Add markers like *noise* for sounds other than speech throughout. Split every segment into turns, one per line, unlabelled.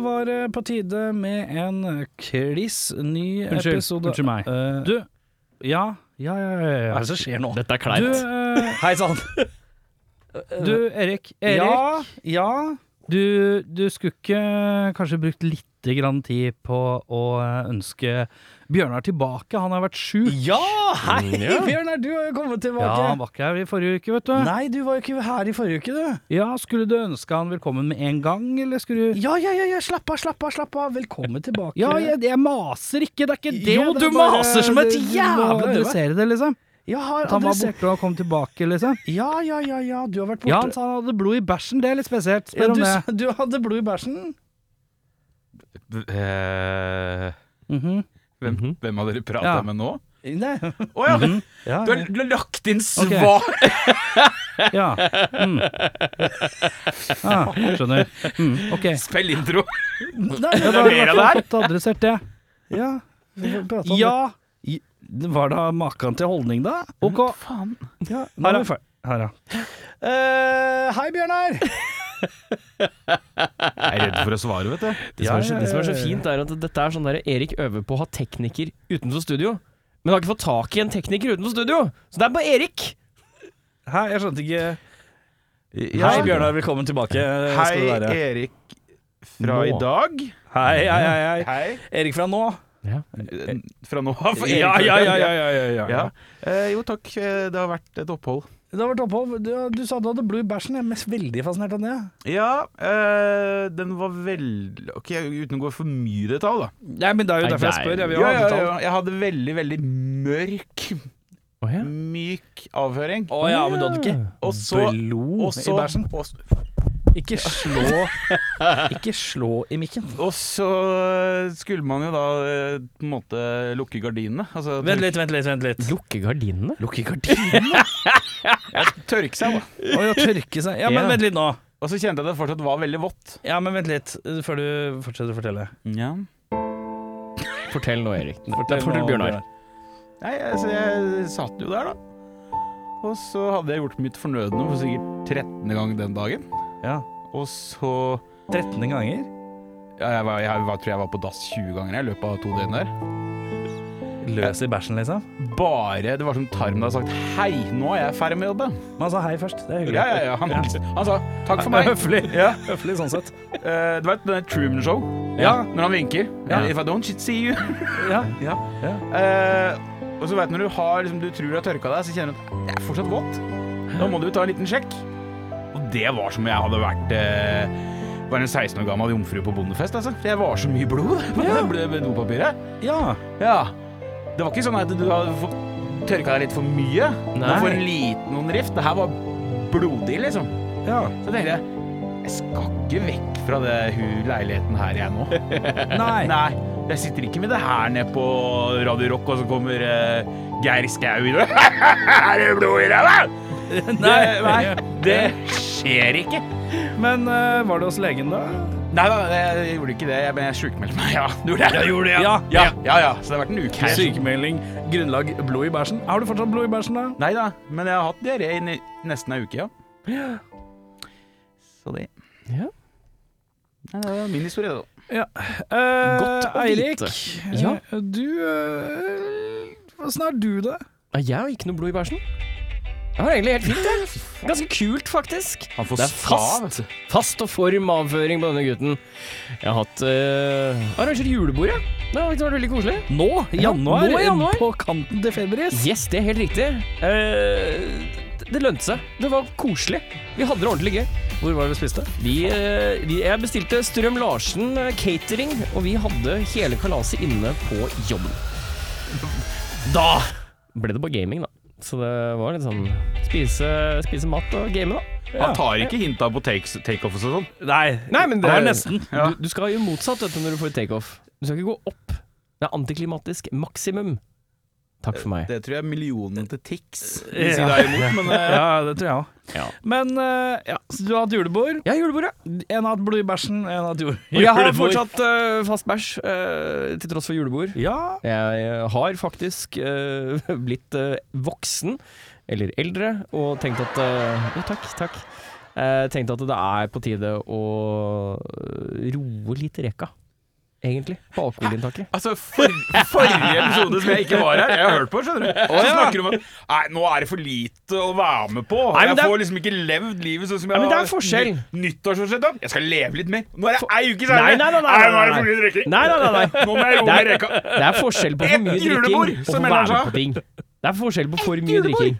var eh, på tide med en kliss ny
Unnskyld,
episode.
unnskyld meg.
Eh,
Du, ja, ja, ja, ja, ja.
Hva er det som skjer nå?
Dette er
Du,
kleint.
eh,
Hei sann.
*laughs* du Erik, Erik
Ja, ja.
du, du skulle
eh,
ikke kanskje brukt litt grann tid på å eh, ønske Bjørnar tilbake? Han har vært sjuk.
Ja, hei!
Mm, ja.
*laughs* Bjørnar, du har jo kommet
Ja,
tilbake.
han var ikke her i forrige uke, vet du.
Nei, du var jo ikke her i forrige uke, du.
Ja, Skulle du ønske han velkommen med en gang, eller skulle du
Ja, ja, ja, ja. slapp av, slapp av, slapp av. Velkommen tilbake.
Ja, jeg, jeg maser ikke, det er ikke det.
Jo,
det
du
er bare-
maser som et
du- du må
jævla
Adressere det, liksom.
Jeg har
At han var
adressert
borte og kom tilbake, liksom.
Ja, ja, ja, ja, du har vært borte.
Ja, han sa han hadde blod i bæsjen, det er litt spesielt. Spør
Ja,
om
du,
det.
du hadde blod i bæsjen.
Eh,
Mhm.
hvem, hvem har dere prata
Ja. Mhm.
med nå?
Nei.
Å ja,
Ja,
du har, du har lagt inn
Ok.
svar!
*laughs*
Ja. Mm. Ah, skjønner. Mm, ok.
Spill intro!
Nei,
Ja,
men-
da har vi i
Mer av
hvert fall
det
fått adressert det.
ja. Vi får prate om det.
Ja,
I- Var da maken til holdning, da?
ok.
Faen.
Ja, nå
Her
er
er
vi ferdig.
fer- Her, ja.
Eh, hei, Bjørnar!
Jeg er redd for å svare, vet du.
Det som, er så,
Ja, ja,
det som er så
ja, ja.
fint, er at dette er sånn der Erik øver på å ha tekniker utenfor studio. Men har ikke fått tak i en tekniker utenfor studio, så det er bare Erik!
Hæ, jeg skjønte ikke
Hei,
Hei, Bjørnar. Velkommen tilbake. skal du være.
Erik
Nå.
fra i dag.
Hei, hei, hei, hei.
Hei.
Erik fra nå.
Eh, Fra *laughs* nå av. Erik
Ja, ja,
fra i
ja,
dag.
ja, ja, ja, ja.
Ja. Eh, jo takk, eh, det har vært et opphold.
Det har vært opphold. Du, du sa du hadde blod i bæsjen. Jeg er mest veldig fascinert av det.
Ja, eh, den var veldig Ok, uten å gå for mye i detalj, da.
Nei, men Det er jo
Nei,
derfor jeg
nei.
spør. Jeg vil jo
Ja,
ha
ja,
detalj.
ja. Jeg hadde veldig, veldig mørk,
Å ja.
myk avføring.
Å ja, men du hadde ikke
Og så
blod
og så-
i bæsjen?
og så-
Ikke slå *laughs* Ikke slå i mikken.
Og så skulle man jo da eh, på en måte lukke gardinene. Altså,
Vent litt, vent litt. vent litt
Lukke gardinene?
Lukk i gardinene.
Tørke seg, da.
Å ja, tørke seg. Ja, men
Ja.
vent litt nå.
Og så kjente jeg at det fortsatt var veldig vått.
Ja, men vent litt eh, før du fortsetter å fortelle.
Ja.
Fortell nå, Erik. Fortell, fortell
nå,
Bjørnar.
Nei, altså, jeg satt jo der, da. Og så hadde jeg gjort mitt fornødne for sikkert 13. gang den dagen.
Ja.
Og så
13 ganger.
ja, jeg, var, jeg, var- tror jeg var på dass 20 ganger jeg, i løpet av to døgn der.
Løs i bæsjen, liksom.
Bare Det var som tarmen hadde sagt 'hei, nå er jeg ferdig med jobben'.
Man sa hei først. Det er hyggelig.
Ja, ja, ja. Han, han sa 'takk
*laughs* Det er
for meg'.
høflig.
Ja.
Høflig sånn sett.
Eh, du vet det Truman Show?
Ja.
Når han vinker. Eh,
Ja.
If I don't see you.
Ja.
Ja.
Ja.
Eh, og så vet du når du har liksom, Du tror du har tørka deg, så kjenner du at det er fortsatt vått. Da må du ta en liten sjekk. Og det var som om jeg hadde vært eh, Bare en 16 år gammel jomfru på bondefest. Altså. For jeg var så mye blod *laughs* på
Ja.
det ble- dopapiret.
ja.
Ja. Det var ikke sånn at du hadde fått tørka deg litt for mye.
Nei.
Og for en liten noen rift. Det her var blodig, liksom.
ja.
Så tenkte jeg jeg skal ikke vekk fra det hu- leiligheten her jeg nå.
Nei.
Nei, jeg sitter ikke med det her nede på Radio Rock, og så kommer eh, Geir Skau inn og *laughs* Er det blod i ræva?! *laughs* Nei, nei, det skjer ikke.
Men eh, var det hos legen, da?
Nei da, jeg gjorde ikke det. Jeg, men jeg sjukmeldte meg. Ja, du gjorde det.
Ja.
Ja, ja, ja. Så det har vært en uke.
Sykemelding, grunnlag blod i bæsjen. Har du fortsatt blod i bæsjen, da?
Nei da, men jeg har hatt diaré i ne- nesten ei uke, ja. Så det
Ja.
Nei, Det var min historie, da.
Godt å
Eh, Eirik,
vite. Ja.
eh, du eh, Åssen har du det?
Nei, Jeg har ikke noe blod i bæsjen. Jeg har egentlig helt fint, jeg. Ganske kult, faktisk.
Han
Det er fast, fast og form avføring på denne gutten. Jeg har hatt eh, arrangert julebord, jeg. Det har vært veldig koselig.
Nå, i januar,
nå i januar.
på kanten til febris.
Yes, det er helt riktig. Eh, det- det lønte seg. Det var koselig. Vi hadde det ordentlig gøy.
Hvor var det vi spiste?
Vi, eh, vi, jeg bestilte Strøm Larsen eh, catering, og vi hadde hele kalaset inne på jobben. Da ble det bare gaming, da. Så det var litt sånn spise, spise mat og game, da.
Han tar ikke hint av på takes- takeoff og sånn.
Nei,
Nei, men
det er nesten.
Ja.
Du, du skal jo motsatt vet du, når du får takeoff. Du skal ikke gå opp. Det er antiklimatisk maksimum. Takk for meg.
Det tror jeg er millionen til Tix
vil si deg Ja, det tror jeg òg.
Ja.
Men eh, ja, så du har hatt julebord.
Jeg har julebord, ja.
En har hatt blod i bæsjen, en har hatt jord-
Og jeg har
julebord.
fortsatt eh, fast bæsj, eh, til tross for julebord.
Ja,
Jeg eh, har faktisk eh, *laughs* blitt eh, voksen, eller eldre, og tenkt at eh, Jo, takk, takk. Eh, tenkte at det er på tide å eh, roe litt reka, egentlig, på alkoholinntaket.
Altså, for, forrige episode som jeg ikke var her, jeg har hørt på, skjønner du. Så snakker du om at nei, nå er det for lite å være med på.
Nei, men
jeg
det er-
får liksom ikke levd livet sånn som
Nei,
jeg
men det er
har-
forskjell.
Nyttårsforsett da. Jeg skal leve litt mer. Nå er det ei uke
Nei, nei,
seinere.
nei, nei, nei,
nå er det
nei.
for mye drikking.
Nei, nei, nei, nei.
Nå må jeg roe
Det
ned
er-
reka.
Det er forskjell på for
Et
mye drikking
julebord,
og for
som
å
Ellen
være
sa.
med på ting. Det er forskjell på for mye
julebord.
drikking.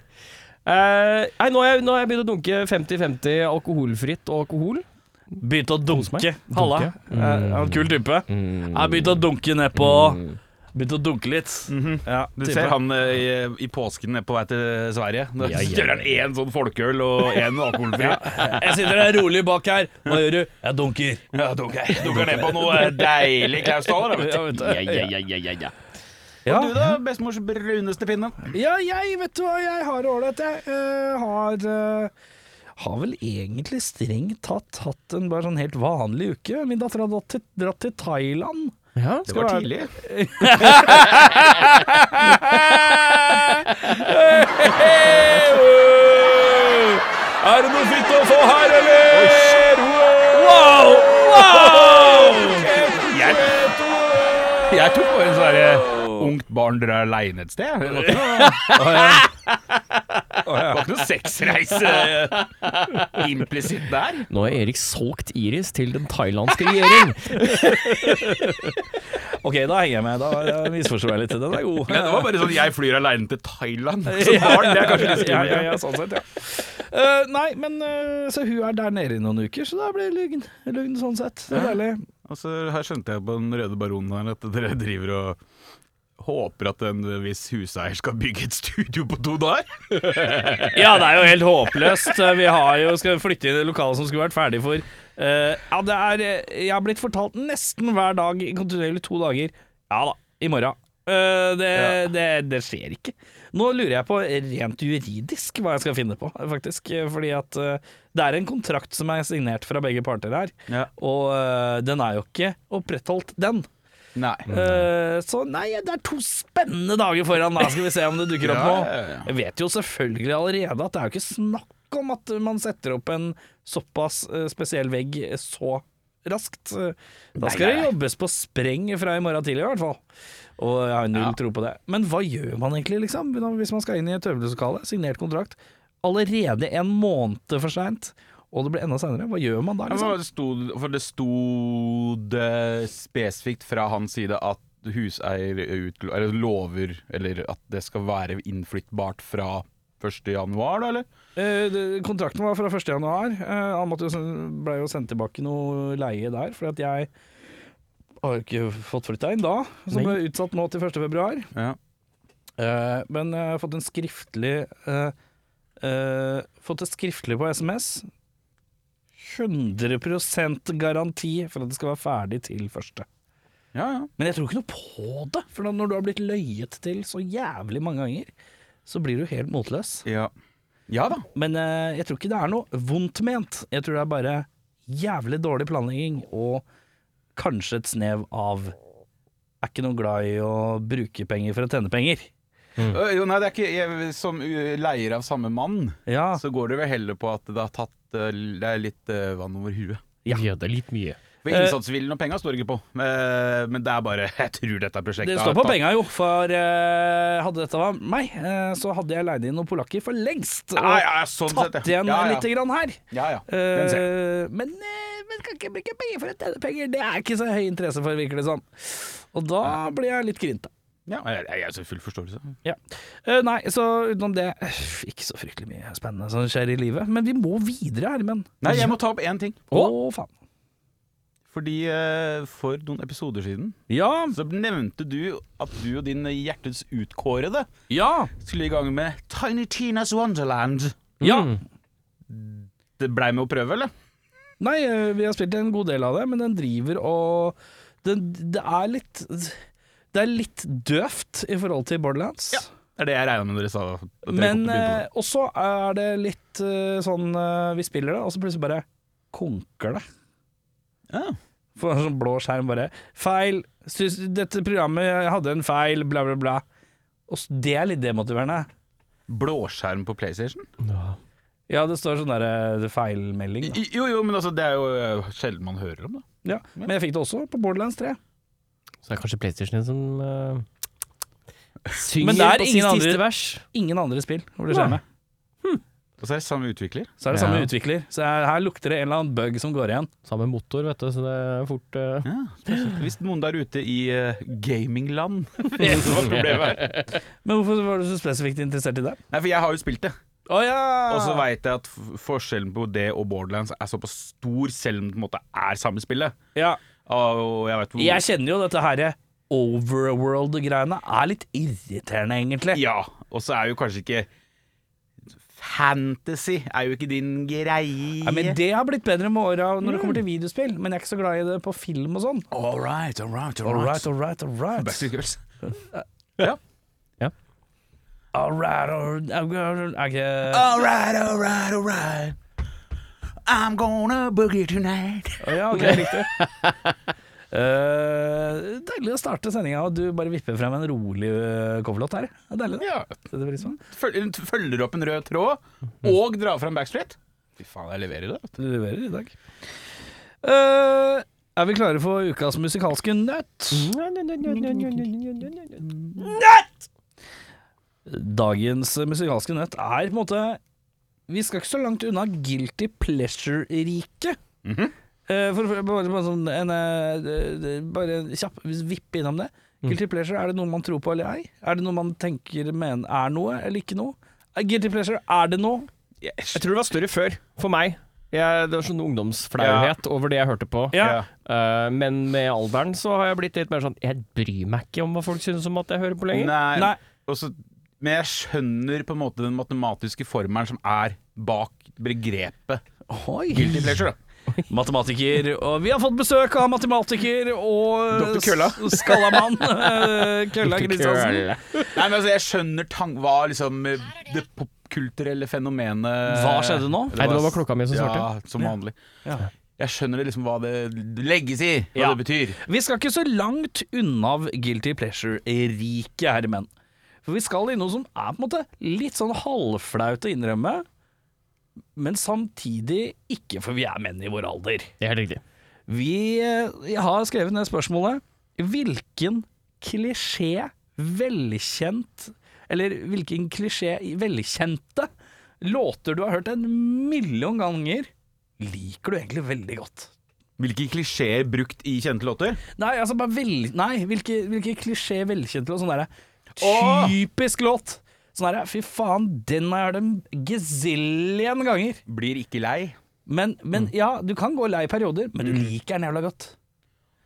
Eh, nei, nå har jeg, nå har jeg begynt å dunke 50-50 alkoholfritt og alkohol.
Begynte å
Hos meg.
dunke. Halla. Eh,
Mm.
han er en kul type. Jeg begynte å dunke nedpå. Begynte å dunke litt.
Ja, du
Type.
ser han eh, i, i påsken nede på vei til Sverige. Da
Ja, ja, ja.
kjører han én sånn folkeøl og én alkoholfri.
Jeg sitter der rolig bak her. Hva gjør du? Jeg dunker.
Ja, dunker dunker ned på noe deilig klausthaler. da, vet
Ja, vet du.
du. Og du da, bestemors bruneste pinne?
Ja, jeg vet du hva, jeg har det ålreit, jeg. Eh, har eh, har vel egentlig strengt tatt hatt en bare sånn helt vanlig uke. Min datter har dratt til, dratt til Thailand.
Ja.
Det var tidlig.
Er det noe fint å få her, eller? Wow! Wow!
Jeg, jeg tok bare en sånn derre Ungt barn drar aleine et sted. Det var ikke noe, det var ikke noe sexreise eh, implisitt der.
Nå har Erik solgt Iris til den thailandske regjering.
Ok, da henger jeg med. Da jeg misforstår jeg litt. Den er god.
Men det var bare sånn jeg flyr aleine til Thailand som barn. Det er kanskje litt
*laughs* Ja, ja,
skummelt.
ja, sånn sett, ja. Eh, nei, men eh, så hun er der nede i noen uker, så da blir det lugn. Lugn sånn sett. Det er
Ja.
deilig.
Og så her skjønte jeg på Den røde baronen her at dere driver og håper at en viss huseier skal bygge et studio på to dager.
*laughs* Ja, det er jo helt håpløst. Vi har jo skal flytte inn i det lokalet som skulle vært ferdig for eh, Ja, det er eh, Jeg har blitt fortalt nesten hver dag i kontinuerlig to dager Ja da, i morgen. Eh, det, det, det skjer ikke. Nå lurer jeg på rent juridisk hva jeg skal finne på, faktisk. eh, Fordi at eh, det er en kontrakt som er signert fra begge parter her,
Ja.
og eh, den er jo ikke opprettholdt, den.
Nei.
Eh, så nei, det er to spennende dager foran, da skal vi se om det dukker opp
Ja,
noe.
ja, ja.
Jeg vet jo selvfølgelig allerede at det er jo ikke snakk om at man setter opp en såpass eh, spesiell vegg så raskt. Eh, Da skal det jobbes på spreng fra i morgen tidlig, i hvert fall. Og jeg har null tro på det. Men hva gjør man egentlig, liksom? Når- Hvis man skal inn i et øvelseslokale, signert kontrakt, allerede en måned for seint, og det blir enda seinere, hva gjør man da,
Ja, men
liksom?
hva sto, for det sto det spesifikt fra hans side at huseier utlo- eller lover eller at det skal være innflyttbart fra 1. januar, da, eller?
Eh, det- kontrakten var fra 1. januar. Eh, han måtte jo, sen- ble jo sendt tilbake noe leie der, fordi at jeg har jo ikke fått flytta inn da, som
Nei.
ble utsatt nå til 1. februar.
Ja.
Eh, men jeg har fått en skriftlig eh, eh, Fått et skriftlig på SMS. 100 garanti for at det skal være ferdig til første.
Ja, ja.
Men jeg tror ikke noe på det, for når du har blitt løyet til så jævlig mange ganger, så blir du helt motløs.
Ja, ja da.
Men eh, jeg tror ikke det er noe vondt ment. Jeg tror det er bare jævlig dårlig planlegging og kanskje et snev av er ikke noe glad i å bruke penger for å tjene penger. Mm.
Øh, Jo, nei, det er ikke jeg, Som øh, leier av samme mann,
Ja,
så går det vel heller på at det har tatt øh, Det er litt øh, vann over huet.
Ja. det er litt mye.
For
Eh,
innsatsvillen og penga står det ikke på. Eh, Men det er bare *laughs* Jeg tror dette prosjektet
det
har
står på
tatt-
penga jo, for eh, hadde dette vært meg, eh, så hadde jeg leid inn noen polakker for lengst. Og
Ja, ja, sånn sett,
tatt igjen
ja, ja.
lite grann her.
Ja, ja. Den ser jeg.
Eh, men, eh, men kan ikke bruke penger for å tjene penger. Det er ikke så høy interesse for, virker det som. Og da blir jeg litt grinta.
Ja, jeg, jeg, jeg har full forståelse.
Ja. Eh, nei, så utenom det eh, Ikke så fryktelig mye spennende som skjer i livet. Men vi må videre, Herman.
Nei, jeg må ta opp én ting.
Å, faen.
Fordi eh, for noen episoder siden
Ja,
så nevnte du at du og din hjertets utkårede
ja,
skulle i gang med Tiny Tinas Wonderland.
ja.
Det blei med å prøve, eller?
Nei, eh, vi har spilt en god del av det, men den driver og den, Det er litt Det er litt døvt i forhold til Borderlands.
Ja. Det er det jeg regna med dere sa. at dere
Men
kom til å begynne
eh, også er det litt eh, sånn eh, Vi spiller det, og så plutselig bare konker det.
på det. Ja.
For en sånn blå skjerm bare Feil, Syns, dette programmet hadde en feil, bla bla bla Og s- det er litt demotiverende
Blåskjerm på PlayStation?
Ja, det står sånn der, eh, feilmelding. Da.
Jo, jo, men altså, det er jo eh, sjelden man hører om det.
Ja. Men jeg fikk det også på Borderlands 3.
Så det er kanskje PlayStation som eh, synger
Men det er
på
ingen
sitt
andre-
siste vers.
Ingen andre spill hvor det skjer med.
Og så er det samme utvikler.
Så er det
Ja.
samme utvikler. Så her, her lukter det en eller annen bug som går igjen.
Samme motor, vet du, så det er fort eh,
Ja, Hvis noen der ute i eh, gamingland *laughs* vet hva problemet er.
Men hvorfor var du så spesifikt interessert i det?
Nei, for jeg har jo spilt det.
Å ja!
Og
Ah.
så veit jeg at f- forskjellen på det og Borderlands er såpass stor, selv om det på en måte er samme spillet.
ja.
Og jeg vet hvor
Jeg kjenner jo dette herre overworld-greiene er litt irriterende, egentlig.
Ja, og så er jo kanskje ikke Fantasy er jo ikke din greie.
Nei, men det har blitt bedre med åra når det kommer til videospill, men jeg er ikke så glad i det på film og sånn.
Mm. All right, all right, all
All right,
right.
all right, all right.
Backstreet Girls.
All right, all right, all right. Er ikke
All right, all right, all right. I'm gonna boogie tonight.
Å Ja, ok,
*laughs*
riktig. Eh, deilig å starte sendinga, og du bare vipper frem en rolig eh, coverlåt her. Det er deilig, det.
Ja,
Setter pris på det.
følger, følger opp en rød tråd og drar fram Backstreet. Fy faen, jeg leverer i dag.
Du leverer i dag. Eh, er vi klare for ukas musikalske nøtt? Dagens musikalske nøtt er på en måte Vi skal ikke så langt unna guilty pleasure-riket. Eh, for, for, bare, bare, sånn en, eh, eh, bare en kjapp vippe innom det. Guilty pleasure, er det noe man tror på eller ei? Er det noe man tenker men, er noe eller ikke noe? Eh, Guilty pleasure, er det noe?
Jeg tror det var større før, for meg. Jeg, det var sånn ungdomsflauhet over det jeg hørte på.
Ja.
Eh, men med alderen så har jeg blitt litt mer sånn Jeg bryr meg ikke om hva folk synes om at jeg hører på lenger.
Nei,
Nei.
og så- men jeg skjønner på en måte den matematiske formelen som er bak begrepet
Oi.
guilty pleasure. da.
Matematiker, og vi har fått besøk av matematiker og
Dr. Kølla.
s- Skallamann. eh, Kølla Kristiansen.
Nei, men altså, jeg skjønner tang hva liksom eh, det popkulturelle fenomenet
Hva skjedde nå?
Nei, det var klokka mi som svarte.
Ja, som vanlig.
Ja.
Jeg skjønner det liksom hva det legges i, hva
Ja.
det betyr.
Vi skal ikke så langt unna guilty pleasure-riket, herremenn. For vi skal i noe som er på en måte litt sånn halvflaut å innrømme, men samtidig ikke, for vi er menn i vår alder.
Det er helt riktig.
Vi eh, jeg har skrevet ned spørsmålet Hvilken klisjé velkjent Eller hvilken klisjé velkjente låter du har hørt en million ganger, liker du egentlig veldig godt?
Hvilke klisjeer brukt i kjente låter?
Nei, altså bare vel... Nei, hvilke, hvilke klisjé velkjente låt? Sånn derre
Åh!
Typisk låt! Sånn derre Fy faen, den har jeg hørt en gazillion ganger.
Blir ikke lei.
Men, men
Mm.
ja, du kan gå lei i perioder, men du liker den jævla godt.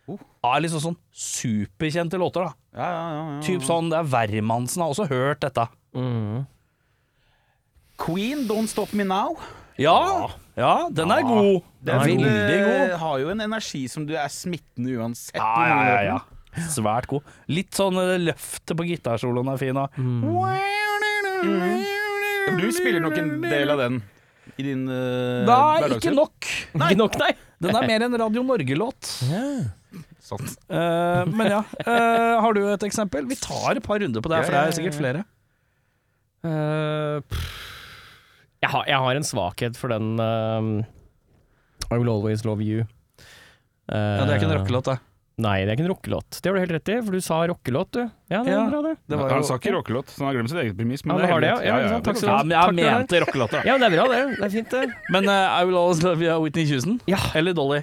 Oh.
Ja, liksom sånn superkjente låter, da.
Ja, ja, ja, ja.
Mm.
Typ sånn det er Wermansen har også hørt dette.
Queen, Don't Stop Me Now.
Ja, ja den er god. Den er veldig god.
eh, har jo en energi som du er smittende uansett.
Ja, ja, ja, ja. Svært god. Litt sånn eh, løftet på gitarsoloen er fin, da.
Mm.
Mm.
Du spiller nok en del av den i din uh,
Eh, Nei, ikke nok.
Ikke nok,
*laughs*
nei.
Den er mer en Radio Norge-låt.
Sånn.
Eh, men ja, eh, har du et eksempel? Vi tar et par runder på det, her, for det er sikkert flere.
Eh, pff. jeg, har, jeg har en svakhet for den eh, I Will Always Love You. Eh,
Ja, Det er ikke en rockelåt, det.
Nei, det er ikke en rockelåt. Det har du helt rett i, for du sa rockelåt, du. Ja, det
Ja.
er bra, det.
Det var
Han
jo-
sa ikke rockelåt, så han har glemt sitt eget premiss.
Ja,
Men
det har det,
det er
ja.
helt
Ja,
greit.
ikke sant? Takk skal du
Ja,
ha.
men jeg
Takk for det.
mente rockelåter. da.
Ja, men det er bra, det. Det er fint, det.
Men eh, I Will Always Love You av Whitney Houston?
Ja.
Eller Dolly?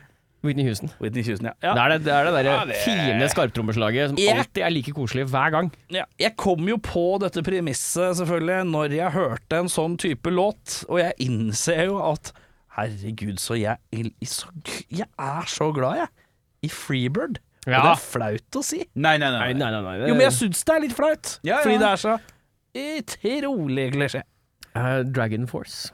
Whitney Houston.
Whitney Houston, ja. ja.
Det er det, det, er det derre
Ja, det-
fine skarptrommeslaget som
Ja.
alltid er like koselig hver gang.
Ja, Jeg kom jo på dette premisset selvfølgelig når jeg hørte en sånn type låt, og jeg innser jo at herregud, så jeg, så, jeg er så glad, jeg, i Freebird. Og det
Ja.
er flaut å si.
Nei, nei, nei. nei.
nei.
Jo, men jeg syns det er litt flaut,
Ja, ja.
fordi det er så utrolig klisjé.
Eh, Dragon Force.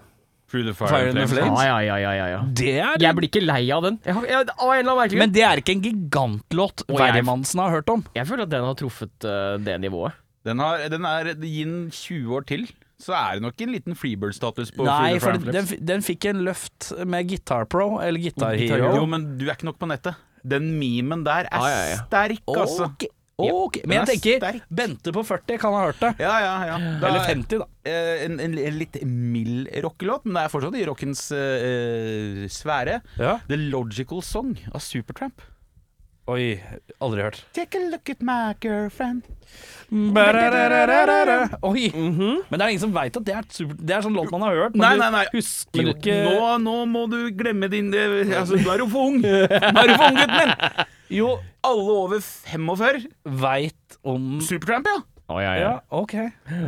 Through the fire,
Fire
and
and the
flames.
flames.
Ah, ja, ja, ja, ja, ja.
Det er
Jeg blir ikke lei av den. Jeg, har- jeg, av en eller annen merkelig
Men det er ikke en gigantlåt
Og jeg-
Wermansen har hørt om.
grunn. Jeg føler at den har truffet eh, det nivået.
Den, har, den er Gi den 20 år til, så er det nok en liten Freebird-status på
Nei,
Through the
for
Fire and
den,
Flames.
den, den fikk en løft med Guitar Pro, eller Guitar Hero.
Jo, men du er ikke nok på nettet. Den memen der er
Ah, ja, ja.
sterk, altså.
Ok,
ok, Men jeg
Den er
tenker
sterk.
Bente på 40 kan ha hørt det.
Ja, ja, ja. Da-
Eller 50, da.
eh, en, en, en litt mild rockelåt, men det er fortsatt i rockens eh, eh, sfære.
Ja.
The Logical Song av Supertramp.
Oi, aldri hørt.
Take a look at my girlfriend.
Mm. Oi. Men det er ingen som veit at det er, et super, det er sånn låt man har hørt. Men
Nei, nei, nei.
du husker
Men
jo ikke
nå, nå må du glemme din eh, altså, Du er jo for ung. Du er jo for ung, gutten min.
Jo,
Alle over 45.
veit om
Supertramp, ja.
Å, ja, ja.
Ja, OK.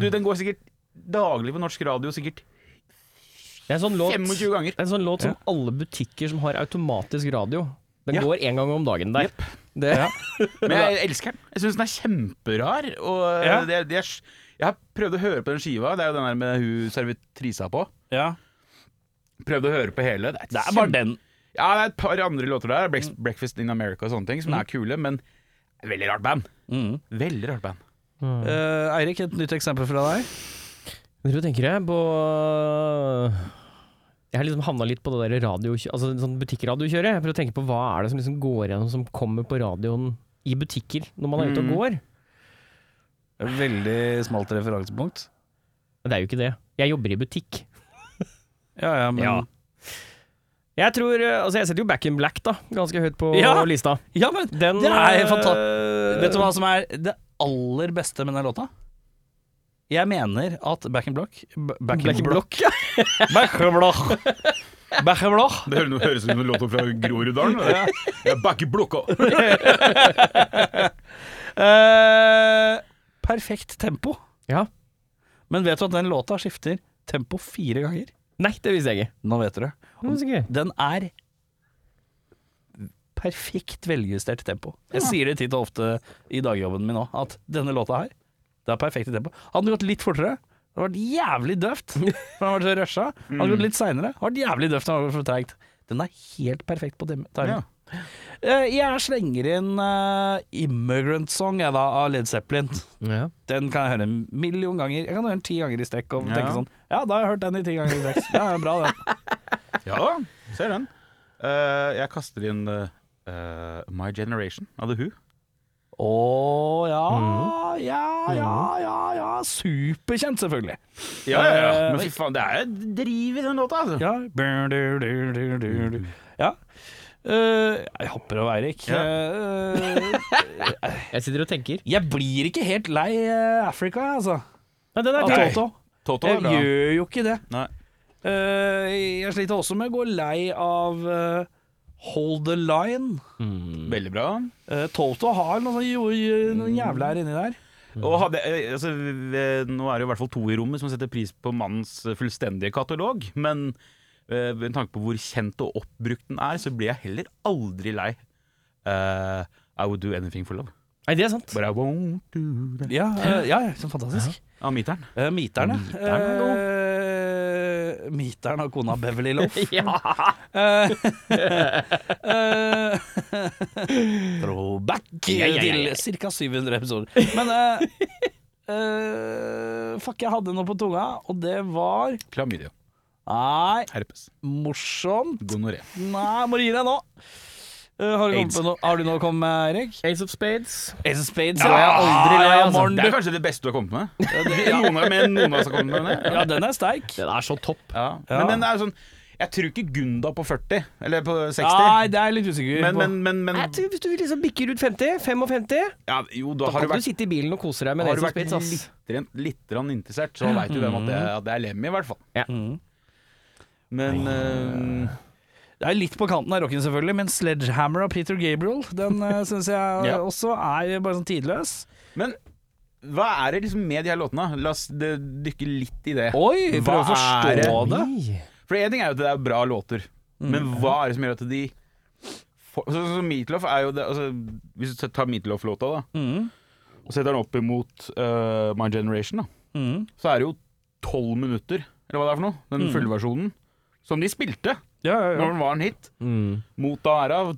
Du, den går sikkert daglig på norsk radio. Sikkert
Det er en sånn låt,
25 ganger.
det er en sånn låt som alle butikker som har automatisk radio Den
Ja.
går en gang om dagen der. Det,
Men jeg elsker den. Jeg syns den er kjemperar. Og eh,
Ja.
det, det er, s- jeg har prøvd å høre på den skiva. Det er jo den der med hun servitrisa på.
Ja.
Prøvd å høre på hele. Det er,
Det er bare
kjempe-
den. Mm.
Ja, det er et par andre låter der. Brex- Breakfast in America og sånne ting, som er kule, men veldig rart band.
Mm.
Veldig rart band.
Mm.
Eh, Eirik, et nytt eksempel fra deg.
Jeg tror jeg tenker jeg på Jeg har liksom havna litt på det der radio, altså sånn butikkradiokjøret. Jeg prøver å tenke på hva er det som liksom går igjennom som kommer på radioen i butikker når man er ute og går.
Veldig smalt referansepunkt.
Men det er jo ikke det. Jeg jobber i butikk.
Ja, ja, men
Ja. Jeg tror, eh, altså jeg setter jo Back in Black da, ganske høyt på
Ja.
lista.
Ja, men
Den,
Det er
eh,
fantastisk. Vet du hva som er det aller beste med den låta? Jeg mener at Back in Block B- Back,
Black in Block.
*laughs* Back in *laughs* Block. Back in Block.
Det høres ut som en låt fra Groruddalen. Jeg er back i blokka.
Eh, perfekt tempo.
Ja.
Men vet du at den låta skifter tempo fire ganger?
Nei, det visste jeg ikke.
Nå vet du det.
Det var så gøy.
Den er perfekt veljustert tempo. Jeg sier det titt og ofte i dagjobben min òg, at denne låta her, det er perfekt i tempo. Hadde den gått litt fortere, det hadde vært jævlig døvt. For den var så rusha. Hadde den gått litt seinere, hadde vært jævlig døvt. Den, for tregt. den er helt perfekt på tim- timing. Eh, Jeg slenger inn eh, 'Immigrant Song' jeg da, av Led Zeppelin.
Ja.
Den kan jeg høre en million ganger. Jeg kan høre den ti ganger i strekk og
Ja.
tenke sånn Ja, da har jeg hørt den i ti ganger i strekk. Det er bra,
*laughs*
det.
Ja, ser den. Eh, jeg kaster inn eh, My Generation av The Who.
Å ja,
Mm.
ja, ja, ja, ja. Superkjent, selvfølgelig.
Ja, ja, ja. Men fy faen, det er jo driv i den låta, altså.
Ja. Brr, du, du, du, du, du. ja. Eh, jeg hopper over Eirik.
Mm. Ja.
Eh,
Jeg sitter og tenker.
jeg blir ikke helt lei eh, Africa, jeg, altså.
Nei, den
Av
er kul.
Toto.
Toto
Jeg gjør jo ikke det.
Nei.
Eh, jeg sliter også med å gå lei av eh, Hold the Line.
Mm.
Veldig bra.
Eh, Toto har noe, sånn jo, jo, noen jævla her inni der.
Og hadde, eh, altså, v- nå er det jo i hvert fall to i rommet som setter pris på mannens eh, fullstendige katalog, men eh, med tanke på hvor kjent og oppbrukt den er, så blir jeg heller aldri lei. Eh, I would do anything for love.
Nei, det er sant.
But I won't do that.
Ja, eh, ja, ja, sånn fantastisk.
Av meteren.
Eh, Miteren, ja.
Miteren er
Eh, Miteren av kona Beverly Loff.
*laughs* Ja.
Eh, *laughs* eh, Throwback
Ja, ja, ja, ja.
til ca. 700 episoder. Men eh, eh, Fuck, jeg hadde noe på tunga, og det var
Klamydia.
Nei,
Herpes.
morsomt.
Gonoré.
Nei, må du gi deg nå. Eh, har, du kommet
Aids.
på noe, har du noe å komme med, Erik?
Ace of Spades.
Ace of Spades.
Ja, jeg er aldri lei,
ja,
altså.
morgen,
Det er
du.
kanskje det beste Ah, du har kommet med? Noen av, men noen av oss har kommet med det.
Ja, den er sterk.
Den er så topp.
Ja.
Ja.
Men den er jo sånn Jeg tror ikke Gunda på 40, eller på 60.
Nei, det er jeg litt usikker
men,
på.
men, men, men
Jeg tror Hvis du liksom bikker ut 50, 55,
ja, Jo, da
da
har
kan
du vært
du sitte i bilen og kose deg med
Har
Ace
du
of
vært
Spades. ass.
litt, grann- litt grann interessert, så veit du hvem at det, at det er Lemmy, i hvert fall.
Ja.
Mm. Men eh,
Det er litt på kanten av rocken, selvfølgelig, men 'Sledgehammer' av Peter Gabriel Den
*laughs*
uh, syns jeg
Ja.
også er bare sånn tidløs.
Men hva er det liksom med de her låtene? La oss eh, dykke litt i det.
Oi, prøve å
Hva er
forstå
det?
det.
Oi.
For én ting er jo at det er bra låter, men hva er det som gjør at de får- Sånn som Meatloaf er jo det altså, Hvis du tar Meatloaf-låta, da,
Mm,
og setter den opp imot eh, My Generation, da,
mm.
så er det jo tolv minutter, eller hva det er for noe, den fullversjonen, som de spilte
Ja, ja,
når den var en hit,
Mm.
mot da æra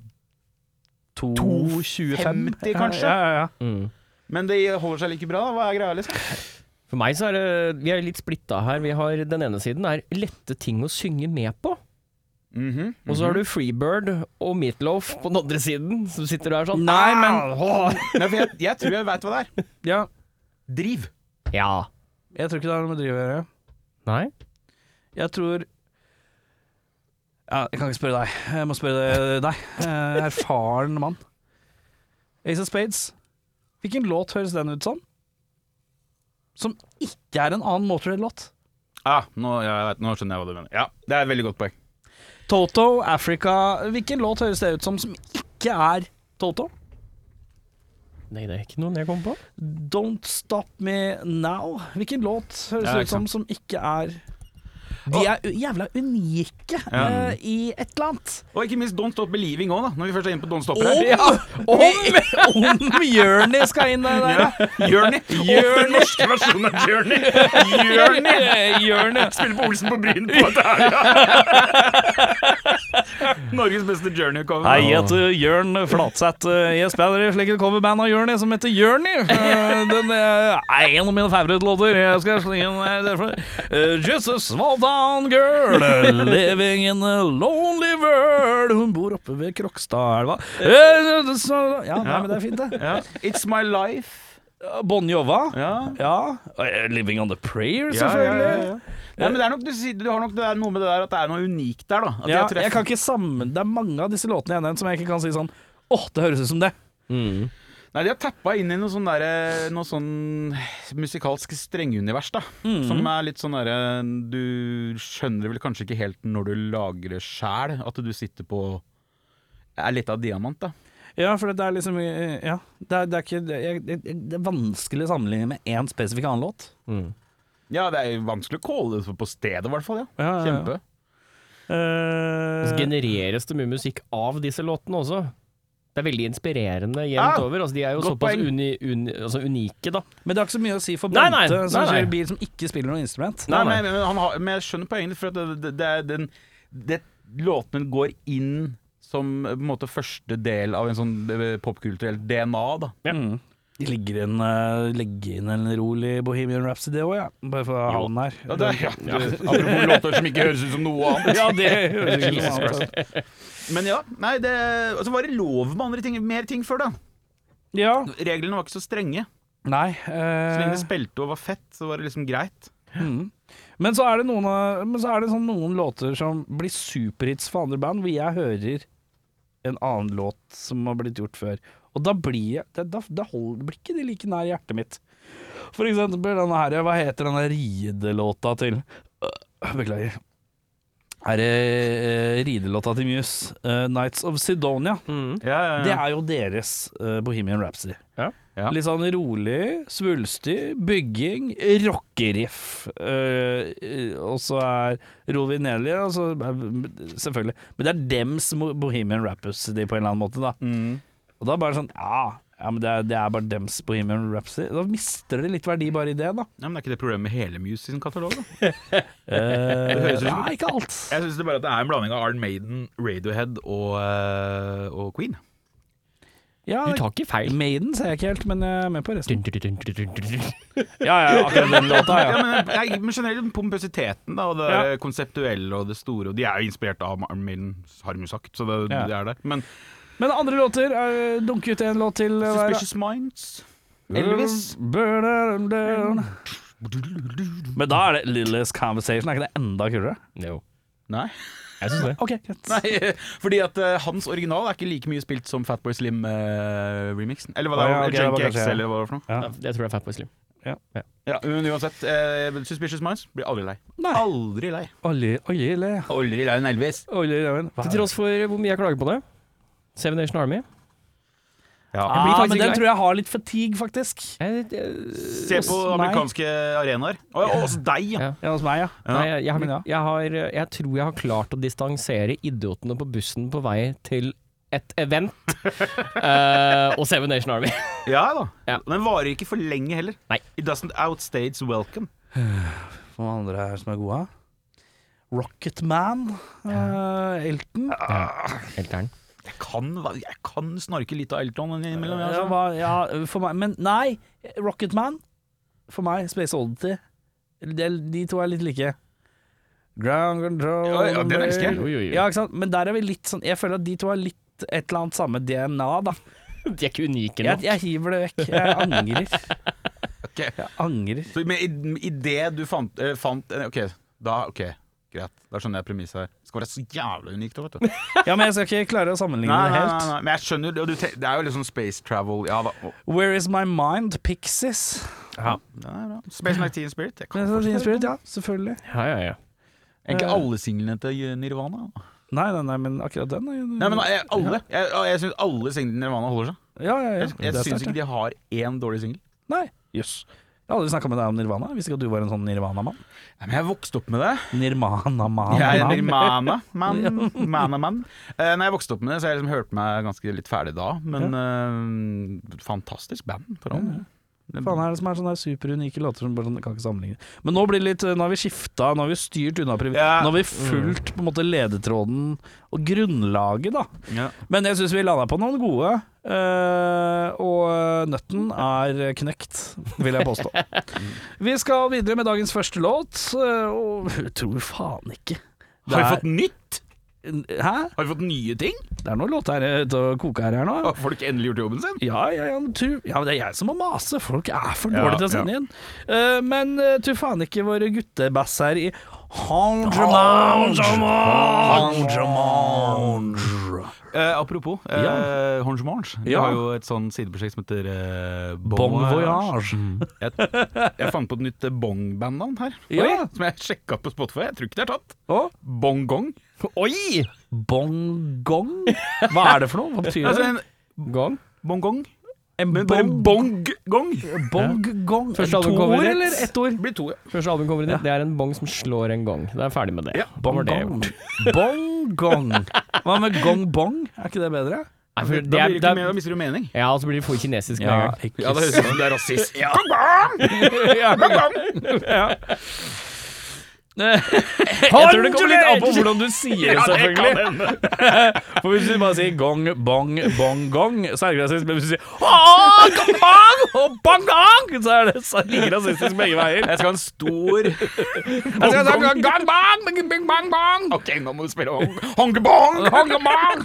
2,25,
50 kanskje?
Ja, ja, ja.
Mm.
Men de holder seg like bra, da. Hva er greia, liksom?
For meg så er det Vi er litt splitta her. Vi har Den ene siden er lette ting å synge med på.
Mm-hmm, Mhm.
Og så har du Freebird og Meatloaf på den andre siden, som sitter der sånn
Nei,
Ah,
men-
åh.
Nei, for jeg, jeg tror jeg veit hva det er.
Ja,
Driv.
Ja.
*laughs* jeg tror ikke det har noe med driv å gjøre.
Nei?
Jeg tror ja, Jeg kan ikke spørre deg. Jeg må spørre deg. Eh, erfaren mann. Ace of Spades. Hvilken låt høres den ut som? Som ikke er en annen Motorhead-låt.
Ah, nå, jeg vet, nå skjønner jeg hva du mener. Ja, Det er et veldig godt poeng.
Toto, Africa Hvilken låt høres det ut som som ikke er Toto?
Nei, det er ikke noen jeg kom på.
Don't Stop Me Now. Hvilken låt høres
Ja,
det
ikke
ut som
sant.
som ikke er De er u- jævla unike
Ja.
eh, i et eller annet.
Og ikke minst Don't Stop Believing òg, da. Når vi først er inne på Don't Stop
Om,
her.
om, om Journey skal inn der, der.
Journey. Åh, Den norske versjonen av
*laughs*
Journey. Journey. Spiller på Olsen på Bryn på et Norges beste Journey-cover.
Hei, jeg heter Jørn Flatseth. eh, Jeg spiller i slike coverband av Jørni som heter Jørni. Eh, Den er en av mine favorittlåter. Jeg skal slenge inn her derfor. Eh, Just a small town girl living in a lonely world. Hun bor oppe ved Krokstadelva. Eh, just a- Ja, nei, men det er fint, det.
Ja. It's My Life.
Bon Jova.
Ja.
Ja. Eh, Living on the Prayer,
Ja, ja, ja,
selvfølgelig.
ja. Nei, men det er nok, du, sier- du har nok det er noe med det der at det er noe unikt der, da. At
Ja,
jeg
jeg kan ikke sammen... Det er mange av disse låtene jeg har nevnt som jeg ikke kan si sånn Åh, det høres ut som det.
Mm.
Nei, de har tappa inn i noe sånn derre Noe sånn musikalsk strengunivers, da.
Mm.
Som er litt sånn derre Du skjønner vel kanskje ikke helt når du lager det sjæl, at du sitter på Er litt av diamant, da.
Ja, for det er liksom Ja, det er, det er, ikke, det er, det er vanskelig å sammenligne *laughs* med én spesifikk annen låt.
Mm.
Ja, det er vanskelig å calle det på stedet, i hvert fall. Ja.
Ja, ja, ja.
Kjempe. Altså,
Eh,
Og så genereres det mye musikk av disse låtene også. Det er veldig inspirerende jevnt
Ah,
over. Altså, de er jo
godt
såpass
poeng.
uni, uni, altså unike, da.
men det har ikke så mye å si for
Nei,
Bonte,
nei,
som
nei, nei.
kjører bil som ikke spiller noe instrument.
Nei,
Nei,
nei.
Men, men, han har, men jeg skjønner poenget, for at det, det, det er den det, Låtene går inn som eh, på en måte første del av en sånn eh, popkulturelt DNA, da.
Mm. De ligger inn, eh, legger inn en rolig Bohemian Rhapsody òg, ja. Bare for å ha
Jo.
den her.
Ja, det, er- ja, du, apropos låter som ikke høres ut som noe annet.
Ja, det høres ikke noe annet ut.
Men ja, nei, det Og så var det lov med andre ting, mer ting før, da.
Ja.
Reglene var ikke så strenge.
Nei.
Så
eh,
lenge det spilte og var fett, så var det liksom greit.
Mm. Men så er det noen, av- men så er det sånn noen låter som blir superhits for andre band, hvor jeg hører en annen låt som har blitt gjort før. Og da blir jeg det, da, da hold, blir ikke de like nær hjertet mitt. For eksempel denne her, hva heter denne ridelåta til Øh, Beklager. Er det eh, ridelåta til Muse? eh, 'Nights of Sidonia'.
Mm.
Ja, ja,
Det er jo deres eh, Bohemian Rhapsody.
Ja.
Ja.
Litt sånn rolig, svulstig, bygging, rockeriff. Eh, eh, og så er altså, Rolvi Nelly og så er- Selvfølgelig. Men det er dems mo- Bohemian Rhapsody på en eller annen måte, da.
Mm.
Og da er det bare sånn Ja, ja men det er, det er bare dems Bohemian Rhapsody. Da mister det litt verdi bare i det, da.
Ja, men det er ikke det problemet med hele Muse sin katalog, da.
Eh,
høres ut som-
nei, ikke alt.
Jeg syns bare at det er en blanding av Arn Maiden, Radiohead og, eh, og Queen.
Ja,
Du tar ikke feil.
Maiden ser jeg ikke helt, men jeg er med på resten.
Dun, dun, dun, dun, dun, dun.
Ja, ja, akkurat den *laughs* låta,
*laughs* Ja,
ja.
men, jeg, men generelt pompøsiteten da, og det der konseptuelle og det store og De er jo inspirert av Arn Maiden, har de jo sagt, så det,
Ja.
det er der. Men
Men andre låter er Dunke ut en låt til. eh, hver-
Suspicious Minds Elvis.
Men da er det Lillis Conversation, er ikke det enda kulere?
Jo.
Nei.
Jeg syns det.
Ok, greit.
*laughs* Nei, fordi at eh, hans original er ikke like mye spilt som Fatboy eh, Slim-remixen. eller hva det
Å,
er,
ja, ok, det var
Junkie X,
kanskje-
eller hva det var for noe.
Ja.
Jeg tror det er Fatboy Slim.
Ja, men uansett, eh, Suspicious Minds blir aldri lei.
Nei.
Aldri lei.
Olje, olje, le.
Aldri lei enn Elvis.
olje, le. Hva?
Til tross for hvor mye jeg klager på det. Seven Nation Army. blir
Ja.
Ah,
faktisk
men
ikke
den
lei.
tror jeg har litt fatigue, faktisk.
Jeg, jeg,
Se på
hos meg-
amerikanske arenaer. Å, ja, hos deg, ja.
Ja.
Ja, hos meg, ja.
Nei, jeg, jeg, har,
men ja.
blitt- jeg, har, jeg tror jeg har klart å distansere idiotene på bussen på vei til et event *laughs* eh, og Seven Nation Army.
Ja da.
Ja.
Den varer ikke for lenge heller.
Nei.
It doesn't outstage welcome.
Hva andre her som er gode? Rocket Man. eh, Elton.
Helteren.
Jeg kan, jeg kan snarke litt av Elton innimellom. jeg,
Ja,
altså.
hva- ja, for meg Men nei, Rocket Man. For meg, Space Oddity. De, de to er litt like.
Ground control
Ja, ja, den elsker jeg.
Jo, jo, jo.
Ja, ikke sant? Men der er vi litt sånn Jeg føler at de to har litt et eller annet samme DNA, da.
De er ikke unike
Jeg,
nok.
jeg hiver det vekk. Jeg angrer.
Ok.
Jeg angrer.
Så med i, i det du fant, eh, fant eh, Ok, da ok, greit. Da skjønner jeg premisset her. Det skal være så jævla unikt òg, vet du. *laughs* Nei,
Ja, men jeg skal ikke klare å sammenligne
nei,
det
nei,
helt.
nei. Men jeg skjønner, og du, te- det er jo litt sånn space travel Ja da. Å,
Where is my mind? Pixies.
det er bra. Space Night Teen Spirit. Jeg kan
Men så-
forstå.
Teen Spirit, sånn ja, selvfølgelig.
Ja, ja, ja.
Egentlig alle singlene til Nirvana.
Nei, nei, nei, men akkurat den er jo
Nei, men eh, alle. Jeg, jeg syns alle singlene til Nirvana holder seg.
Ja, ja, ja.
Jeg, jeg
Det er
syns
sterkt,
ikke de har én dårlig singel.
Nei. Jøss. Jeg har aldri snakka med deg om Nirvana. Jeg Visste ikke at du var en sånn Nirvana-mann.
Men jeg vokste opp med det.
Nirvana-mann.
Jeg er Nirvana, man, *laughs* man, man. Eh, Når jeg vokste opp med det, så jeg liksom hørte meg ganske litt ferdig da. Men eh, fantastisk band. For all del. Det-
Faen er det som er sånne der superunike låter som bare sånn, kan ikke sammenligne. Men nå blir det litt Nå har vi skifta, nå har vi styrt unna privat...
Ja. Mm.
Nå har vi fulgt på en måte ledetråden og grunnlaget, da.
Ja.
Men jeg syns vi landa på noen gode. eh, og nøtten er knekt, vil jeg
*laughs*
påstå. vi skal videre med dagens første låt, eh, og tror faen ikke det
Har vi
er-
fått nytt?
Hæ?
Har vi fått nye ting?
Det er noen låter her, eh, ute og koker her, her nå.
Har folk endelig gjort jobben sin?
Ja, ja, ja, men tu, ja, men det er jeg som må mase. Folk er for dårlige til å sende
ja.
inn. Eh, men uh, tu faen ikke våre guttebass her i Hondremange. Hondremange.
Eh, apropos eh, Horns Morns. De
Ja.
har jo et sånn sideprosjekt som heter eh,
Bon voyage.
Jeg, jeg fant på et nytt eh, bongband-navn her.
Ja.
Som jeg sjekka på Spotify. Jeg tror ikke det er tatt.
Og
Bongong.
Oi!
bongong. Hva er det for noe? Hva betyr
Altså
det?
en
Gang.
bongong.
En
Men bare
bong-
bonggong.
bonggong.
Første
To
albumcover
ord,
ditt.
eller ett ord?
Blir to, ja.
Første albumcoveret ditt, det er en bong som slår en gang. Det er ferdig med det.
Ja,
Da var det
Bongong.
gjort.
Bongong. Hva med gongbong? Er ikke det bedre?
Nei, for
Da
det,
blir
er,
det
det
ikke
er,
mer, da mister du mening.
ja, og så blir det for kinesisk med en gang.
ikke
Ja, det høres ut som det er rasist. Ja.
Jeg tror det kommer litt an på hvordan du sier det, selvfølgelig. For hvis du bare sier gong, bong, bong, gong, så er det ikke rasistisk. Men hvis du sier «Åh, gong, bong, og bong, gong, så er det så like rasistisk begge veier.
Jeg skal ha en stor
Jeg skal si gong, bong, bing, bing, bong, bong.
Ok, nå må du spille hong- hongebong!
Bong, bong.